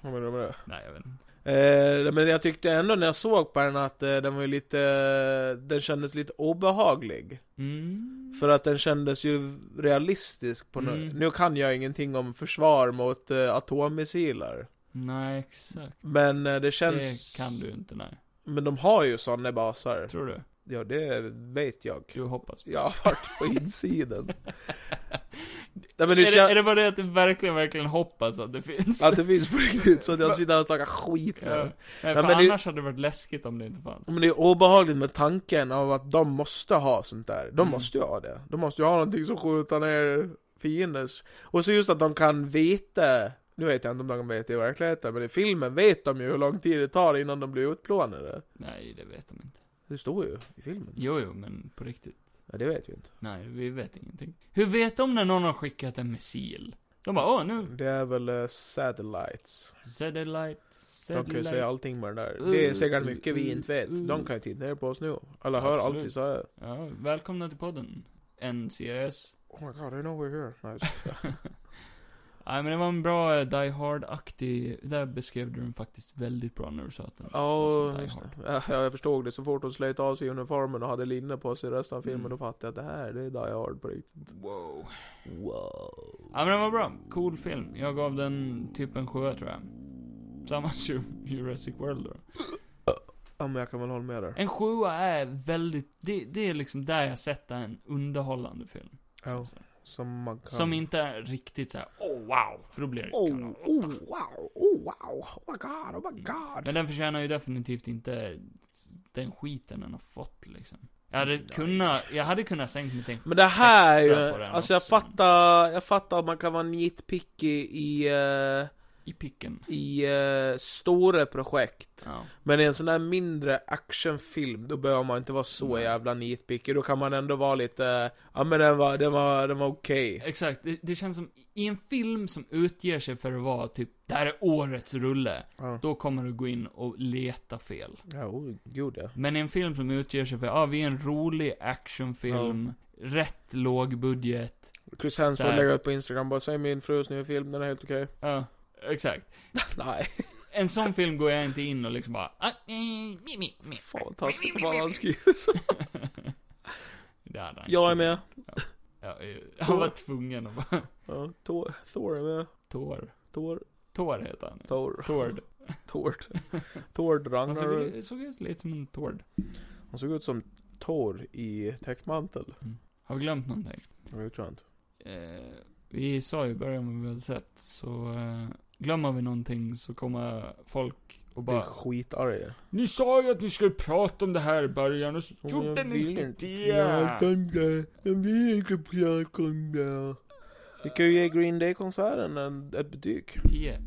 [SPEAKER 2] Vad menar du med det?
[SPEAKER 1] Nej, jag vet inte.
[SPEAKER 2] Eh, men jag tyckte ändå när jag såg på den att eh, den var ju lite, eh, den kändes lite obehaglig.
[SPEAKER 1] Mm.
[SPEAKER 2] För att den kändes ju realistisk på nå-
[SPEAKER 1] Mm.
[SPEAKER 2] Nu kan jag ingenting om försvar mot eh, atommissiler.
[SPEAKER 1] Nej, exakt.
[SPEAKER 2] Men eh, det känns...
[SPEAKER 1] Det kan du inte, nej.
[SPEAKER 2] Men de har ju sådana baser.
[SPEAKER 1] Tror du?
[SPEAKER 2] Ja, det vet jag.
[SPEAKER 1] Du hoppas på
[SPEAKER 2] Jag har varit på insidan. Nej, men
[SPEAKER 1] är,
[SPEAKER 2] det
[SPEAKER 1] det, är
[SPEAKER 2] känns...
[SPEAKER 1] det bara det att du verkligen, verkligen hoppas att det finns?
[SPEAKER 2] Att det finns på riktigt, så att jag sitter här och snackar skit
[SPEAKER 1] ja.
[SPEAKER 2] nu.
[SPEAKER 1] Nej, för
[SPEAKER 2] men det- Mm.
[SPEAKER 1] annars hade det varit läskigt om det inte fanns.
[SPEAKER 2] Men det är obehagligt med tanken av att de måste ha sånt där. De
[SPEAKER 1] Mm.
[SPEAKER 2] måste ju ha det. De måste ju ha någonting som skjuter ner fienders. Och så just att de kan veta, nu vet jag inte om de kan veta i verkligheten, men i filmen vet de ju hur lång tid det tar innan de blir utplånade.
[SPEAKER 1] Nej, det vet de inte.
[SPEAKER 2] Det står ju i filmen.
[SPEAKER 1] Jo, jo, men på riktigt.
[SPEAKER 2] Ja, det vet vi inte.
[SPEAKER 1] Nej, vi vet ingenting. Hur vet de när någon har skickat en missil? De bara, åh nu,
[SPEAKER 2] Det är väl eh, satellites.
[SPEAKER 1] satellite,
[SPEAKER 2] De kan ju
[SPEAKER 1] satellite.
[SPEAKER 2] säga allting med den där. Det
[SPEAKER 1] Mm,
[SPEAKER 2] är säkert mycket vi inte vet. De kan ju titta ner på oss nu. Alla hör allt vi
[SPEAKER 1] Absolut.
[SPEAKER 2] säger.
[SPEAKER 1] Ja, välkomna till podden. NCS.
[SPEAKER 2] Oh my god, I know we're here. Nice.
[SPEAKER 1] Nej men det var en bra eh, Die Hard-aktig, där beskrev du den faktiskt väldigt bra när du sa att den
[SPEAKER 2] Ja,
[SPEAKER 1] som Die
[SPEAKER 2] just
[SPEAKER 1] Hard.
[SPEAKER 2] det. ja, jag förstod det. Så fort hon slet av sig uniformen och hade linne på sig resten av filmen,
[SPEAKER 1] Mm.
[SPEAKER 2] då fattade jag att det här, det är Die Hard på riktigt.
[SPEAKER 1] Wow.
[SPEAKER 2] Wow.
[SPEAKER 1] Ja men den var bra, cool film. Jag gav den typ en sjua tror jag. Samma som Jurassic World då.
[SPEAKER 2] Ja, men jag kan väl hålla med där.
[SPEAKER 1] En sjua är väldigt, det, det är liksom där jag sett en underhållande film.
[SPEAKER 2] Ja, som man kan...
[SPEAKER 1] Som inte är riktigt såhär, oh wow, för då blir det
[SPEAKER 2] Oh,
[SPEAKER 1] kanon.
[SPEAKER 2] oh, wow, oh, wow, oh my god, oh my god.
[SPEAKER 1] Men den förtjänar ju definitivt inte den skiten den har fått liksom. Jag hade kunnat, jag hade kunnat sänkt mig till en
[SPEAKER 2] Men det här är
[SPEAKER 1] sexa på
[SPEAKER 2] ju,
[SPEAKER 1] den
[SPEAKER 2] alltså jag
[SPEAKER 1] också.
[SPEAKER 2] fattar, jag fattar att man kan vara nitpicky i, eh,
[SPEAKER 1] I picken.
[SPEAKER 2] i eh, stora projekt.
[SPEAKER 1] Ja.
[SPEAKER 2] Men i en sån här mindre actionfilm, då behöver man inte vara så
[SPEAKER 1] Nej.
[SPEAKER 2] jävla nitpicky. Då kan man ändå vara lite, ja men den var, den var, den var okej.
[SPEAKER 1] Exakt, det, det känns som, i en film som utger sig för att vara typ, det här är årets rulle,
[SPEAKER 2] Ja,
[SPEAKER 1] då kommer du gå in och leta fel.
[SPEAKER 2] ja oh, gud ja.
[SPEAKER 1] Men i en film som utger sig för, ja ah, vi är en rolig actionfilm, rätt låg budget,
[SPEAKER 2] Chris
[SPEAKER 1] Så
[SPEAKER 2] Hemsworth
[SPEAKER 1] här.
[SPEAKER 2] lägger upp på Instagram bara, säg min frus nya film, den är helt okej.
[SPEAKER 1] ja, exakt.
[SPEAKER 2] Nej,
[SPEAKER 1] En sån film går jag inte in och liksom bara, ah, eh, mi, mi, mi.
[SPEAKER 2] fan vad taskigt att bara han skriver så.
[SPEAKER 1] Det hade han
[SPEAKER 2] Jag är
[SPEAKER 1] inte.
[SPEAKER 2] med.
[SPEAKER 1] Ja, eh, han var tvungen att bara,
[SPEAKER 2] Ja, Thor, Thor är med.
[SPEAKER 1] Tor.
[SPEAKER 2] Tor,
[SPEAKER 1] Tor heter han.
[SPEAKER 2] Tor,
[SPEAKER 1] Tord. Alltså,
[SPEAKER 2] Tord. Tord
[SPEAKER 1] Han såg,
[SPEAKER 2] Ragnarök.
[SPEAKER 1] ut- såg ut lite som en Tord.
[SPEAKER 2] Han såg ut som Thor i täckmantel.
[SPEAKER 1] Har vi glömt någonting?
[SPEAKER 2] Jag tror inte.
[SPEAKER 1] Eh, vi sa ju i början vad vi hade sett, så eh, glömmer vi någonting så kommer folk och
[SPEAKER 2] Blir
[SPEAKER 1] bara
[SPEAKER 2] skitarga.
[SPEAKER 1] Ni sa ju att ni skulle prata om det här i början och så
[SPEAKER 2] Men
[SPEAKER 1] gjorde
[SPEAKER 2] jag
[SPEAKER 1] ni
[SPEAKER 2] vill
[SPEAKER 1] inte
[SPEAKER 2] inte
[SPEAKER 1] det.
[SPEAKER 2] om det. Jag vill inte prata om det. Vi kan ju ge Green Day-konserten en, ett betyg.
[SPEAKER 1] Tio.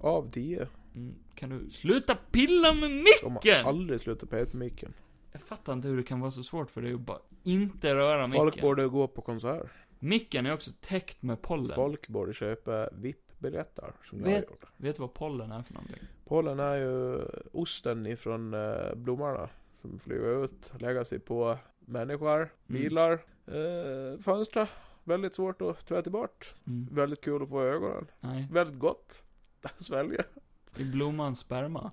[SPEAKER 2] Av 10.
[SPEAKER 1] Mm, kan du sluta pilla med
[SPEAKER 2] De har
[SPEAKER 1] micken?
[SPEAKER 2] aldrig slutat peta micken.
[SPEAKER 1] Jag fattar inte hur det kan vara så svårt för dig att bara inte röra
[SPEAKER 2] Folk
[SPEAKER 1] micken.
[SPEAKER 2] borde gå på konsert.
[SPEAKER 1] Micken är också täckt med pollen.
[SPEAKER 2] Folk borde köpa VIP-biljetter. Som jag har
[SPEAKER 1] Vet-
[SPEAKER 2] gjort.
[SPEAKER 1] Vet du vad pollen är för någonting?
[SPEAKER 2] Pollen är ju osten ifrån eh, blommorna. Som flyger ut, lägger sig på människor, bilar, eh, fönster. Väldigt svårt att tvätta bort.
[SPEAKER 1] Mm.
[SPEAKER 2] Väldigt kul att få i ögonen.
[SPEAKER 1] Nej,
[SPEAKER 2] Väldigt gott. att Svälja.
[SPEAKER 1] det är blommans sperma.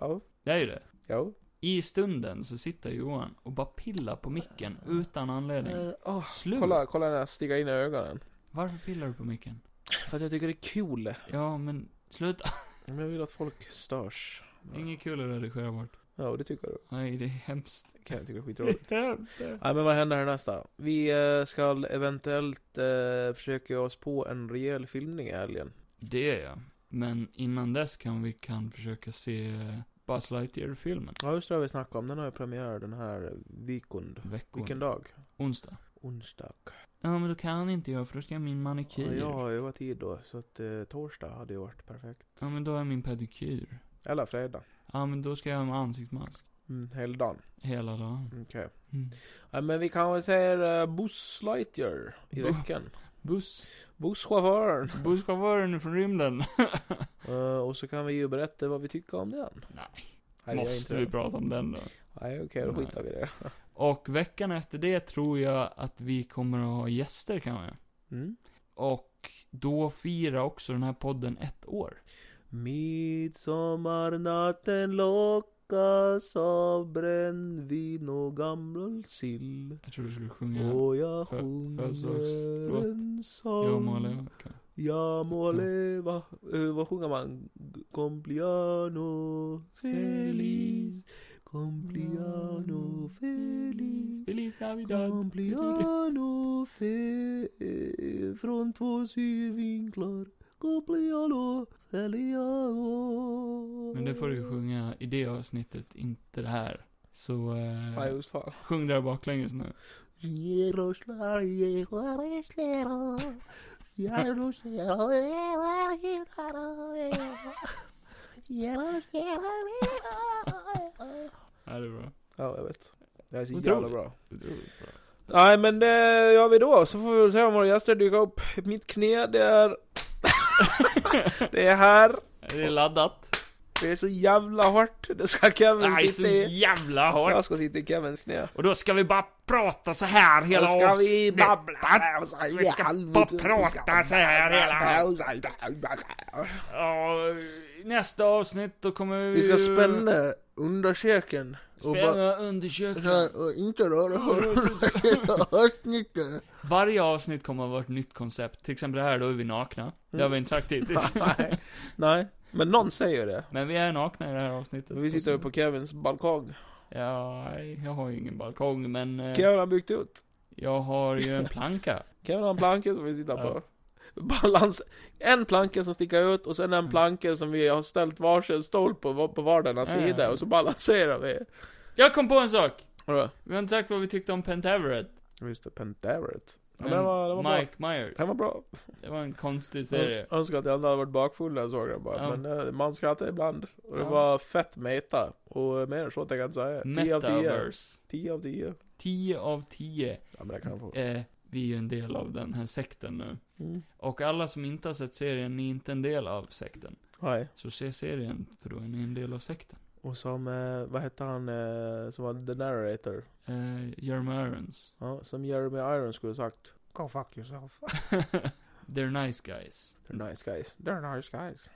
[SPEAKER 2] Ja.
[SPEAKER 1] Det är ju det.
[SPEAKER 2] Ja.
[SPEAKER 1] I stunden så sitter Johan och bara pillar på micken utan anledning. Slut.
[SPEAKER 2] Kolla, kolla när jag sticker in i ögonen.
[SPEAKER 1] Varför pillar du på micken?
[SPEAKER 2] För att jag tycker det är kul.
[SPEAKER 1] Ja, men sluta.
[SPEAKER 2] Men jag vill att folk störs.
[SPEAKER 1] Inget kul att redigera bort.
[SPEAKER 2] Ja, och det tycker du.
[SPEAKER 1] Nej, det är hemskt.
[SPEAKER 2] Kan jag tycka är
[SPEAKER 1] Det
[SPEAKER 2] skitroligt.
[SPEAKER 1] är hemskt. det.
[SPEAKER 2] Nej men vad händer härnäst då? Vi eh, ska eventuellt eh, försöka ge oss på en rejäl filmning i helgen.
[SPEAKER 1] Det är jag. Men innan dess kan vi kan försöka se Buzz Lightyear-filmen.
[SPEAKER 2] Ja just det har vi snackat om, den har ju premiär den här vikund.
[SPEAKER 1] Veckor.
[SPEAKER 2] Vilken dag?
[SPEAKER 1] Onsdag.
[SPEAKER 2] Onsdag.
[SPEAKER 1] Ja, men då kan inte jag, för då ska jag ha min
[SPEAKER 2] Ja,
[SPEAKER 1] manikyr.
[SPEAKER 2] jag
[SPEAKER 1] Ja,
[SPEAKER 2] har ju varit tid då, så att eh, torsdag hade ju varit perfekt.
[SPEAKER 1] men då har jag min pedikyr.
[SPEAKER 2] Eller fredag.
[SPEAKER 1] Ja, men då ska jag ha en ansiktsmask.
[SPEAKER 2] Mm, helgdagen.
[SPEAKER 1] Hela dagen.
[SPEAKER 2] Okej.
[SPEAKER 1] Mm.
[SPEAKER 2] Ja, men vi kan väl säga eh, Buzz Lightyear i
[SPEAKER 1] Bu-
[SPEAKER 2] veckan.
[SPEAKER 1] Buss.
[SPEAKER 2] Busschauffören.
[SPEAKER 1] Busschauffören från rymden.
[SPEAKER 2] Eh, och så kan vi ju berätta vad vi tycker om den.
[SPEAKER 1] Nej,
[SPEAKER 2] Nej, vi gör
[SPEAKER 1] måste
[SPEAKER 2] inte
[SPEAKER 1] vi
[SPEAKER 2] det.
[SPEAKER 1] prata om den då?
[SPEAKER 2] Nej okej, då
[SPEAKER 1] Nej.
[SPEAKER 2] skitar vi i det.
[SPEAKER 1] Och veckan efter det tror jag att vi kommer att ha gäster kanske.
[SPEAKER 2] Mm.
[SPEAKER 1] Och då firar också den här podden ett år.
[SPEAKER 2] Midsommarnatten lockas av brännvin och gammal sill.
[SPEAKER 1] Jag tror du skulle sjunga
[SPEAKER 2] Och jag
[SPEAKER 1] Fö-
[SPEAKER 2] sjunger
[SPEAKER 1] födelsedagslåt.
[SPEAKER 2] er en
[SPEAKER 1] Jag må
[SPEAKER 2] sång.
[SPEAKER 1] leva. kanske.
[SPEAKER 2] Jag må
[SPEAKER 1] Ja.
[SPEAKER 2] leva. Eh, Vad sjunger man? G- Compliano feliz. Compliano feliz.
[SPEAKER 1] Feliz Navidad.
[SPEAKER 2] Compliano fe... eh, Från två synvinklar. Compliano feliano.
[SPEAKER 1] Men det får du ju sjunga i det avsnittet, inte det här. Så,
[SPEAKER 2] Nej,
[SPEAKER 1] eh,
[SPEAKER 2] just fan.
[SPEAKER 1] sjung där baklänges nu.
[SPEAKER 2] Jerusalem, Jerusalem, Jerusalem, Jerusalem.
[SPEAKER 1] Ja, det är bra.
[SPEAKER 2] Ja, jag vet. Det här är så
[SPEAKER 1] Otroligt.
[SPEAKER 2] jävla bra.
[SPEAKER 1] Otroligt bra.
[SPEAKER 2] Nej, men det gör vi då. Så får vi väl se om våra gäster dyker upp. Mitt knä, det är... det är här.
[SPEAKER 1] Det är laddat.
[SPEAKER 2] Det är så jävla hårt. Det ska Kevin
[SPEAKER 1] Nej, så
[SPEAKER 2] sitta i.
[SPEAKER 1] jävla hårt.
[SPEAKER 2] Jag ska sitta i Kevins knä.
[SPEAKER 1] Och då ska vi bara prata så här hela
[SPEAKER 2] Då ska vi
[SPEAKER 1] avsnittet.
[SPEAKER 2] babbla. och så
[SPEAKER 1] Vi ska
[SPEAKER 2] jävligt-
[SPEAKER 1] bara prata så här hela Ja, nästa avsnitt då kommer vi
[SPEAKER 2] Vi ska
[SPEAKER 1] ju
[SPEAKER 2] spänna undersöken. Och bara,
[SPEAKER 1] spänna undersöka.
[SPEAKER 2] så, och inte röra höstnyckeln.
[SPEAKER 1] Varje avsnitt kommer att vara ett nytt koncept. Till exempel det här, då är vi nakna. Det har vi inte sagt hittills.
[SPEAKER 2] Nej, men någon säger det.
[SPEAKER 1] Men vi är nakna i det här avsnittet.
[SPEAKER 2] Vi sitter ju på Kevins balkong.
[SPEAKER 1] Ja, jag har ju ingen balkong, men eh,
[SPEAKER 2] Kevin har byggt ut.
[SPEAKER 1] jag har ju en planka.
[SPEAKER 2] Kevin har en planka som vi sitter
[SPEAKER 1] Ja.
[SPEAKER 2] på. Balans, en planka som sticker ut och sen en
[SPEAKER 1] Mm.
[SPEAKER 2] planka som vi har ställt varsin stol på, på vardera
[SPEAKER 1] Ja, ja, ja.
[SPEAKER 2] sida och så balanserar vi.
[SPEAKER 1] Jag kom på en sak!
[SPEAKER 2] Vadå?
[SPEAKER 1] Vi har inte sagt vad vi tyckte om Pent Everett.
[SPEAKER 2] Just det, Pentaveret. Ja, men
[SPEAKER 1] Men
[SPEAKER 2] det var, det var bra.
[SPEAKER 1] Mike Myers.
[SPEAKER 2] Det var bra.
[SPEAKER 1] Det var en konstig serie.
[SPEAKER 2] Jag önskar att jag aldrig hade varit bakfull när jag såg den bara.
[SPEAKER 1] Ja.
[SPEAKER 2] Men eh, man skrattar ibland. Och det
[SPEAKER 1] Ja.
[SPEAKER 2] var fett meta. Och eh, mer än så tänker jag inte säga. 10 av 10.
[SPEAKER 1] Metaverse.
[SPEAKER 2] 10 av 10.
[SPEAKER 1] 10 av 10.
[SPEAKER 2] Ja men det kan jag få.
[SPEAKER 1] Eh, vi är ju en del av den här sekten nu.
[SPEAKER 2] Mm.
[SPEAKER 1] Och alla som inte har sett serien, ni är inte en del av sekten.
[SPEAKER 2] Nej.
[SPEAKER 1] Så se serien, för då är ni en del av sekten.
[SPEAKER 2] Och som, eh, vad hette han eh, som var the narrator?
[SPEAKER 1] Eh, Jeremy Irons.
[SPEAKER 2] Ja, som Jeremy Irons skulle sagt. Go fuck yourself.
[SPEAKER 1] They're nice guys.
[SPEAKER 2] They're nice guys. They're nice guys.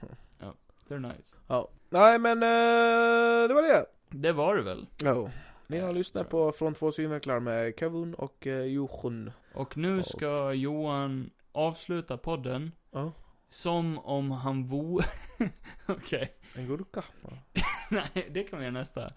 [SPEAKER 1] They're nice.
[SPEAKER 2] Ja. Nej men eh, det var det.
[SPEAKER 1] Det var det väl?
[SPEAKER 2] Ja. Ni har
[SPEAKER 1] Ja,
[SPEAKER 2] lyssnat
[SPEAKER 1] tror
[SPEAKER 2] på Från två synvinklar med Kevin och eh, Jochen.
[SPEAKER 1] Och nu ska Johan avsluta podden.
[SPEAKER 2] Ja.
[SPEAKER 1] Som om han vore... Okej.
[SPEAKER 2] En gurka. Ja.
[SPEAKER 1] Nej, det kan vi göra nästa.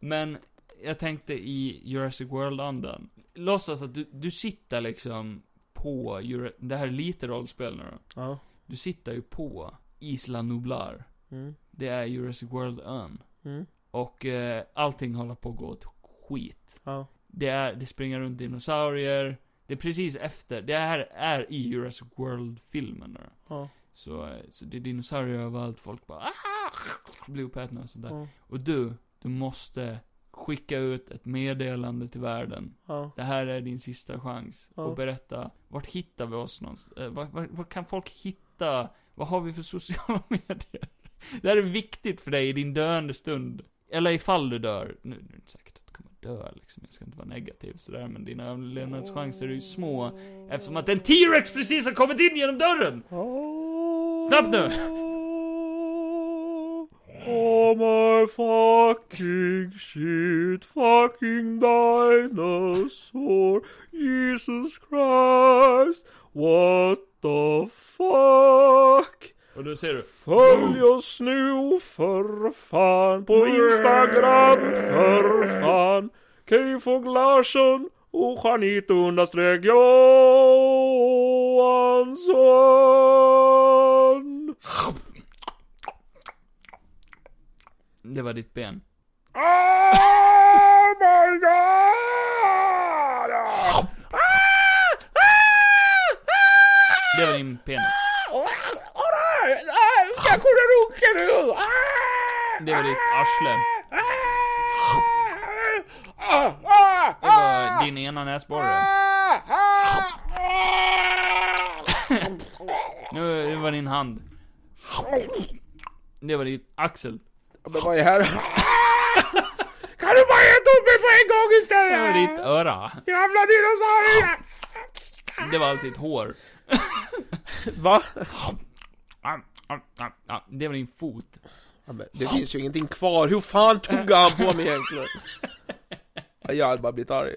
[SPEAKER 1] Men jag tänkte i Jurassic World-andan. Låtsas att du, du sitter liksom på... Jura- Det här är lite rollspel nu då.
[SPEAKER 2] Ja.
[SPEAKER 1] Du sitter ju på Isla Nublar.
[SPEAKER 2] Mm.
[SPEAKER 1] Det är Jurassic World-ön.
[SPEAKER 2] Mm.
[SPEAKER 1] Och eh, allting håller på att gå åt skit.
[SPEAKER 2] Ja.
[SPEAKER 1] Det, är, det springer runt dinosaurier. Det är precis efter. Det här är i Jurassic World-filmen. då.
[SPEAKER 2] Ja.
[SPEAKER 1] Så, eh, så det är dinosaurier överallt. Folk bara "Ah!" blir uppätna och sånt där.
[SPEAKER 2] Ja.
[SPEAKER 1] Och du, du måste skicka ut ett meddelande till världen.
[SPEAKER 2] Ja.
[SPEAKER 1] Det här är din sista chans.
[SPEAKER 2] Ja.
[SPEAKER 1] Och berätta, vart hittar vi oss någonstans? Eh, vart, vart, vart kan folk hitta? Vad har vi för sociala medier? Det här är viktigt för dig i din döende stund. Eller ifall du dör. Nu, nu är det inte säkert att du kommer dö liksom. Jag ska inte vara negativ sådär. Men dina överlevnadschanser är ju små. Eftersom att en T-Rex precis har kommit in genom dörren! Snabbt nu!
[SPEAKER 2] Oh my fucking shit fucking dinosaur Jesus Christ What the fuck
[SPEAKER 1] Och då ser du.
[SPEAKER 2] Följ oss nu för fan på Instagram för fan Keyfog Larsson och Janito understreck Johansson
[SPEAKER 1] Det var ditt ben.
[SPEAKER 2] Oh my god! Ah! Ah! Ah!
[SPEAKER 1] Det var din penis.
[SPEAKER 2] Åh nej! nej, Jag kommer runka nu! Ah!
[SPEAKER 1] Det var ditt arsle.
[SPEAKER 2] Ah! Ah!
[SPEAKER 1] Det var din ena näsborre.
[SPEAKER 2] Ah! Ah!
[SPEAKER 1] Nu, det var din hand. Det var din axel.
[SPEAKER 2] Men vad är här? Kan du bara äta upp mig på en gång
[SPEAKER 1] Det var ditt
[SPEAKER 2] istället?
[SPEAKER 1] öra.
[SPEAKER 2] Jävla dinosaurier!
[SPEAKER 1] Det var allt ditt hår.
[SPEAKER 2] Va?
[SPEAKER 1] Ah, ah, ah, ah. Det var din fot.
[SPEAKER 2] Ja, men det finns ju ingenting kvar, hur fan tog han på mig egentligen? Ja, Jag hade bara blivit arg.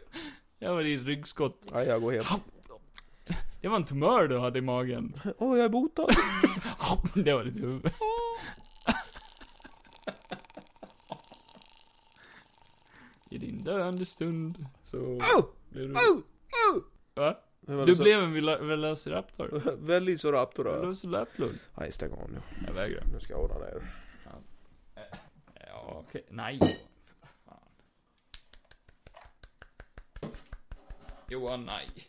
[SPEAKER 1] Det var ditt ryggskott.
[SPEAKER 2] Ja, jag går helt...
[SPEAKER 1] Det var en tumör du hade i magen.
[SPEAKER 2] Åh, jag är botad.
[SPEAKER 1] Det var ditt huvud. I din döende stund så blev du... Va?
[SPEAKER 2] Det var
[SPEAKER 1] Du
[SPEAKER 2] så-
[SPEAKER 1] blev en vela- velociraptor.
[SPEAKER 2] Väldigt så raptor då.
[SPEAKER 1] Velociraptor.
[SPEAKER 2] Nej, stäng av nu.
[SPEAKER 1] Jag vägrar.
[SPEAKER 2] Nu ska jag ordna ner.
[SPEAKER 1] Ja, okej. Nej. Fan. Johan, nej.